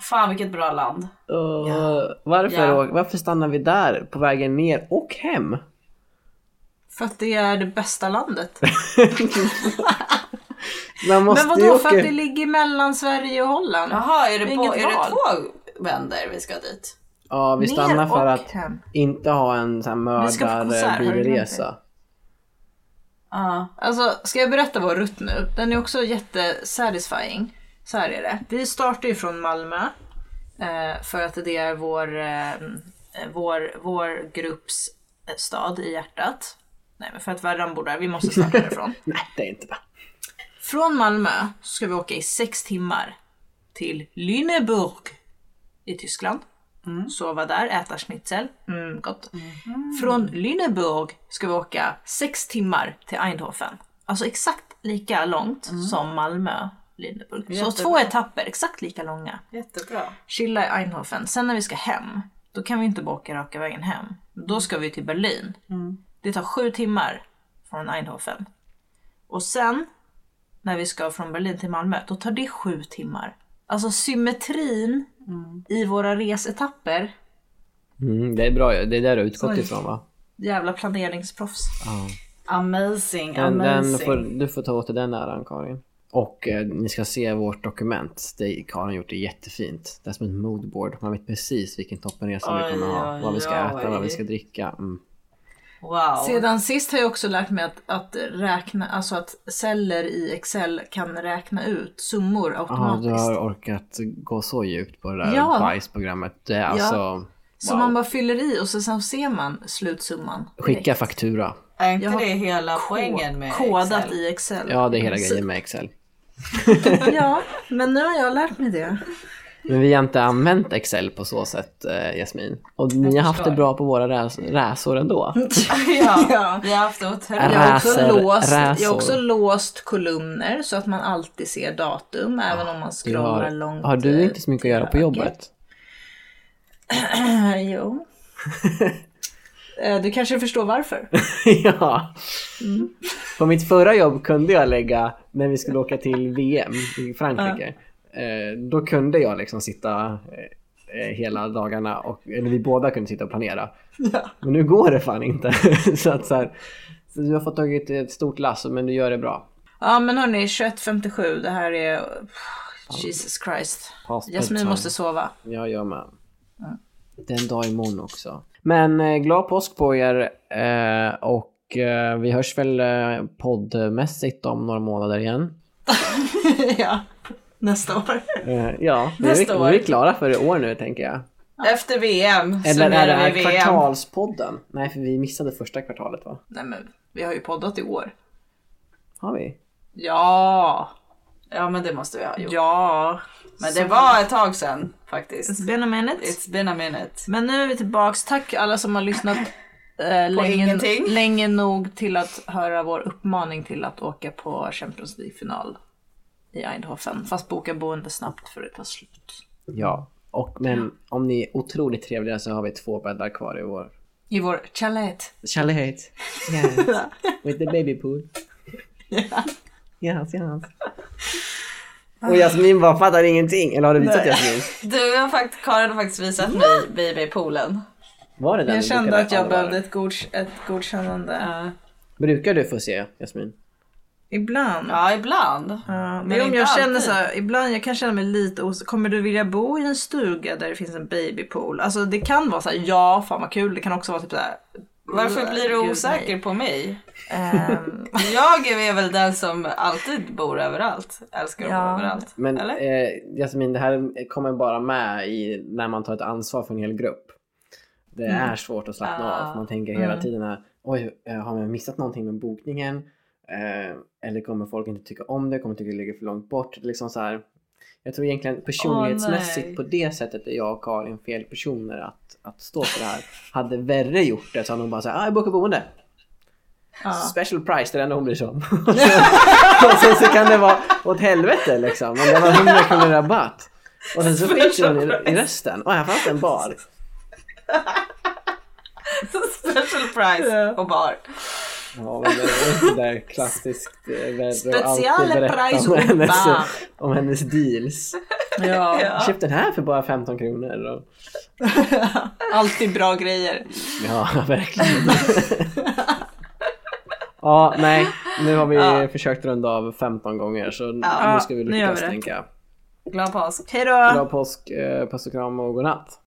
Speaker 4: Fan vilket bra land.
Speaker 6: Åh, varför,
Speaker 4: Ja.
Speaker 6: åk- varför stannar vi där på vägen ner och hem?
Speaker 5: För att det är det bästa landet.
Speaker 6: Man måste
Speaker 5: Men
Speaker 6: ju
Speaker 5: vadå, för
Speaker 6: åka-
Speaker 5: att det ligger mellan Sverige och Holland?
Speaker 4: Jaha, är
Speaker 5: Det
Speaker 4: det,
Speaker 5: är
Speaker 4: på,
Speaker 5: inget
Speaker 4: är det
Speaker 5: val.
Speaker 4: två vänder vi ska dit?
Speaker 6: Ja, vi
Speaker 5: Ner
Speaker 6: stannar för
Speaker 5: och
Speaker 6: att
Speaker 5: hem.
Speaker 6: inte ha en sån här
Speaker 5: Vi ska på konsert, har du glömt
Speaker 6: mördarbilresa.
Speaker 4: Ja.
Speaker 5: Alltså, ska jag berätta vår rutt nu? Den är också jättesatisfying. Så här är det. Vi startar ju från Malmö. eh, För att det är vår, eh, vår, vår grupps eh, stad i hjärtat. Nej men för att Värran bor där, vi måste starta därifrån.
Speaker 6: Nej, det är inte det.
Speaker 5: Från Malmö så ska vi åka i sex timmar till Lüneburg i Tyskland. Sova där, äta schnitzel. Mm, gott. Från Lüneburg ska vi åka sex timmar till Eindhoven. Alltså exakt lika långt som Malmö. Lüneburg. Så två etapper, exakt lika långa.
Speaker 4: Jättebra.
Speaker 5: Chilla i Eindhoven. Sen när vi ska hem, då kan vi inte bara åka raka vägen hem. Då ska vi till Berlin. Det tar sju timmar från Eindhoven. Och sen när vi ska från Berlin till Malmö, då tar det sju timmar. Alltså symmetrin i våra resetapper.
Speaker 6: Mm, det är bra, ju. det är där du har utgått ifrån va?
Speaker 5: Jävla planeringsproffs.
Speaker 4: Amazing,
Speaker 6: Den, den
Speaker 4: amazing.
Speaker 6: får, du får ta åt dig den äran Karin. Och eh, ni ska se vårt dokument. Det Karin gjort det jättefint. Det är som ett moodboard. Man vet precis vilken toppenresa vi
Speaker 4: Oj,
Speaker 6: kommer ha.
Speaker 4: oj,
Speaker 6: Vad vi ska
Speaker 4: oj.
Speaker 6: äta, vad vi ska dricka. Mm.
Speaker 4: Wow.
Speaker 5: Sedan sist har jag också lärt mig att, att räkna, alltså att celler i Excel kan räkna ut summor
Speaker 6: Ah,
Speaker 5: automatiskt.
Speaker 6: du har orkat gå så djupt på det där
Speaker 5: Ja.
Speaker 6: bajsprogrammet. Det är alltså...
Speaker 5: Så
Speaker 6: wow.
Speaker 5: man bara fyller i och så sen ser man slutsumman.
Speaker 6: Skicka faktura.
Speaker 4: är inte
Speaker 5: Jag har
Speaker 4: det hela
Speaker 5: Ko-
Speaker 4: poängen med
Speaker 5: Kodat
Speaker 4: Excel?
Speaker 5: i Excel.
Speaker 6: Ja, det är hela
Speaker 5: Så-
Speaker 6: grejen med Excel.
Speaker 5: [LAUGHS] Ja, men nu har jag lärt mig det.
Speaker 6: Men vi har inte använt Excel på så sätt, eh, Jasmin. Och ni har haft det bra på våra räs- räsor ändå.
Speaker 4: ja.
Speaker 5: Ja.
Speaker 4: Vi har haft det otroligt.
Speaker 5: Jag har, också
Speaker 6: Räser,
Speaker 5: låst, jag har också
Speaker 6: räsor.
Speaker 5: låst kolumner så att man alltid ser datum även om man
Speaker 6: Du
Speaker 5: scrollar
Speaker 6: har,
Speaker 5: långt.
Speaker 6: har du inte så mycket att göra på
Speaker 5: eh,
Speaker 6: jobbet?
Speaker 5: Eh, [LAUGHS] jo. Eh, du kanske förstår
Speaker 6: [LAUGHS]
Speaker 5: varför.
Speaker 6: ja. På mitt förra jobb kunde jag lägga, när vi skulle åka till VM i Frankrike, eh, då kunde jag liksom sitta eh, eh, hela dagarna, och, eller vi båda kunde sitta och planera. Men nu går det fan inte. [LAUGHS] så att så här, så du har fått tagit ett stort lass, men du gör det bra.
Speaker 5: Ja men hörni, 21.57, det här är... Jesus Christ.
Speaker 6: Pass på
Speaker 5: Jasmin
Speaker 6: time.
Speaker 5: måste sova. [LAUGHS]
Speaker 6: Jag gör med. Det är en dag imorgon också. Men eh, glad påsk på er eh, och eh, vi hörs väl eh, poddmässigt om några månader igen.
Speaker 5: ja, nästa år.
Speaker 6: Eh, ja, vi
Speaker 4: Nästa
Speaker 6: är,
Speaker 4: år.
Speaker 6: vi är klara för i år nu tänker jag.
Speaker 4: Efter VM
Speaker 6: Eller är det
Speaker 4: summerar
Speaker 6: här
Speaker 4: vi
Speaker 6: kvartalspodden? Nej, för vi missade första kvartalet va?
Speaker 5: Nej men, vi har ju poddat i år.
Speaker 6: Har vi?
Speaker 5: Ja,
Speaker 4: Ja men det måste vi ha gjort.
Speaker 5: ja.
Speaker 4: Men det var ett tag sedan faktiskt.
Speaker 5: It's been a minute.
Speaker 4: It's been a minute.
Speaker 5: Men nu är vi tillbaks. Tack alla som har lyssnat eh, länge,
Speaker 4: ingenting.
Speaker 5: länge nog till att höra vår uppmaning till att åka på Champions League-final. i Eindhoven. Fast boka boende snabbt för det tar slut.
Speaker 6: Ja. Och, men om ni är otroligt trevliga så har vi två bäddar kvar i vår
Speaker 5: I vår chalet.
Speaker 6: Chalet. Yes. [LAUGHS] With the baby pool. Yes, yes. Och Jasmin bara fattar ingenting. Eller har du visat Jasmin?
Speaker 5: Du har fakt- Karin har faktiskt visat mig BB-poolen.
Speaker 6: Var det den
Speaker 5: Jag
Speaker 6: du
Speaker 5: kände
Speaker 6: brukade
Speaker 5: att jag
Speaker 6: använda?
Speaker 5: behövde ett, god, ett godkännande.
Speaker 6: Brukar du få se Jasmin?
Speaker 5: Ibland.
Speaker 4: Ja, ibland.
Speaker 5: Ja,
Speaker 4: men
Speaker 5: men om
Speaker 4: inte
Speaker 5: jag känner
Speaker 4: alltid.
Speaker 5: så här, ibland jag kan känna mig lite os- Kommer du vilja bo i en stuga där det finns en babypool? Alltså det kan vara så här, ja fan vad kul. Det kan också vara typ så här.
Speaker 4: Varför blir du
Speaker 5: Gud,
Speaker 4: osäker på mig?
Speaker 5: nej. Ehm,
Speaker 4: Jag är väl den som alltid bor överallt. Älskar att
Speaker 5: Ja.
Speaker 4: bo överallt.
Speaker 6: Men
Speaker 4: Eller?
Speaker 6: eh, Jasmin, det här kommer bara med i när man tar ett ansvar för en hel grupp. Det är svårt att slappna
Speaker 4: Ah.
Speaker 6: av. Man tänker hela
Speaker 5: Mm.
Speaker 6: tiden här, oj, eh, har jag missat någonting med bokningen? Eh, eller kommer folk inte tycka om det? Kommer tycka det ligger för långt bort? Liksom så här, jag tror egentligen personlighetsmässigt
Speaker 4: nej.
Speaker 6: på det sättet är jag och Karin fel personer att, att stå för det här. Hade Verre gjort det så hade hon bara såhär, ah, jag bokar boende. Special price, det är det enda hon bryr sig om. och sen, och sen så kan det vara åt helvete liksom. Men det var 100 kronor rabatt. Och sen så skiter hon i, i resten. Och här fanns en bar.
Speaker 4: Special price och bar.
Speaker 6: Ja, men det är inte där klassiskt eh, Verre och alltid
Speaker 5: Speciale
Speaker 6: berätta
Speaker 5: price
Speaker 6: om
Speaker 5: och
Speaker 6: hennes,
Speaker 5: bar.
Speaker 6: [LAUGHS] om hennes deals. [LAUGHS]
Speaker 5: ja.
Speaker 6: Jag köpte den här för bara 15 kronor. Och,
Speaker 5: Alltid bra grejer.
Speaker 6: ja, [LAUGHS] verkligen.
Speaker 5: [LAUGHS]
Speaker 6: Ja, nej. Nu har vi försökt runda av 15 gånger så nu ska vi
Speaker 5: nu gör vi
Speaker 6: lyckas
Speaker 5: det.
Speaker 6: tänka.
Speaker 4: Glad påsk.
Speaker 5: Hej då!
Speaker 6: Glad påsk, eh, puss och kram och godnatt.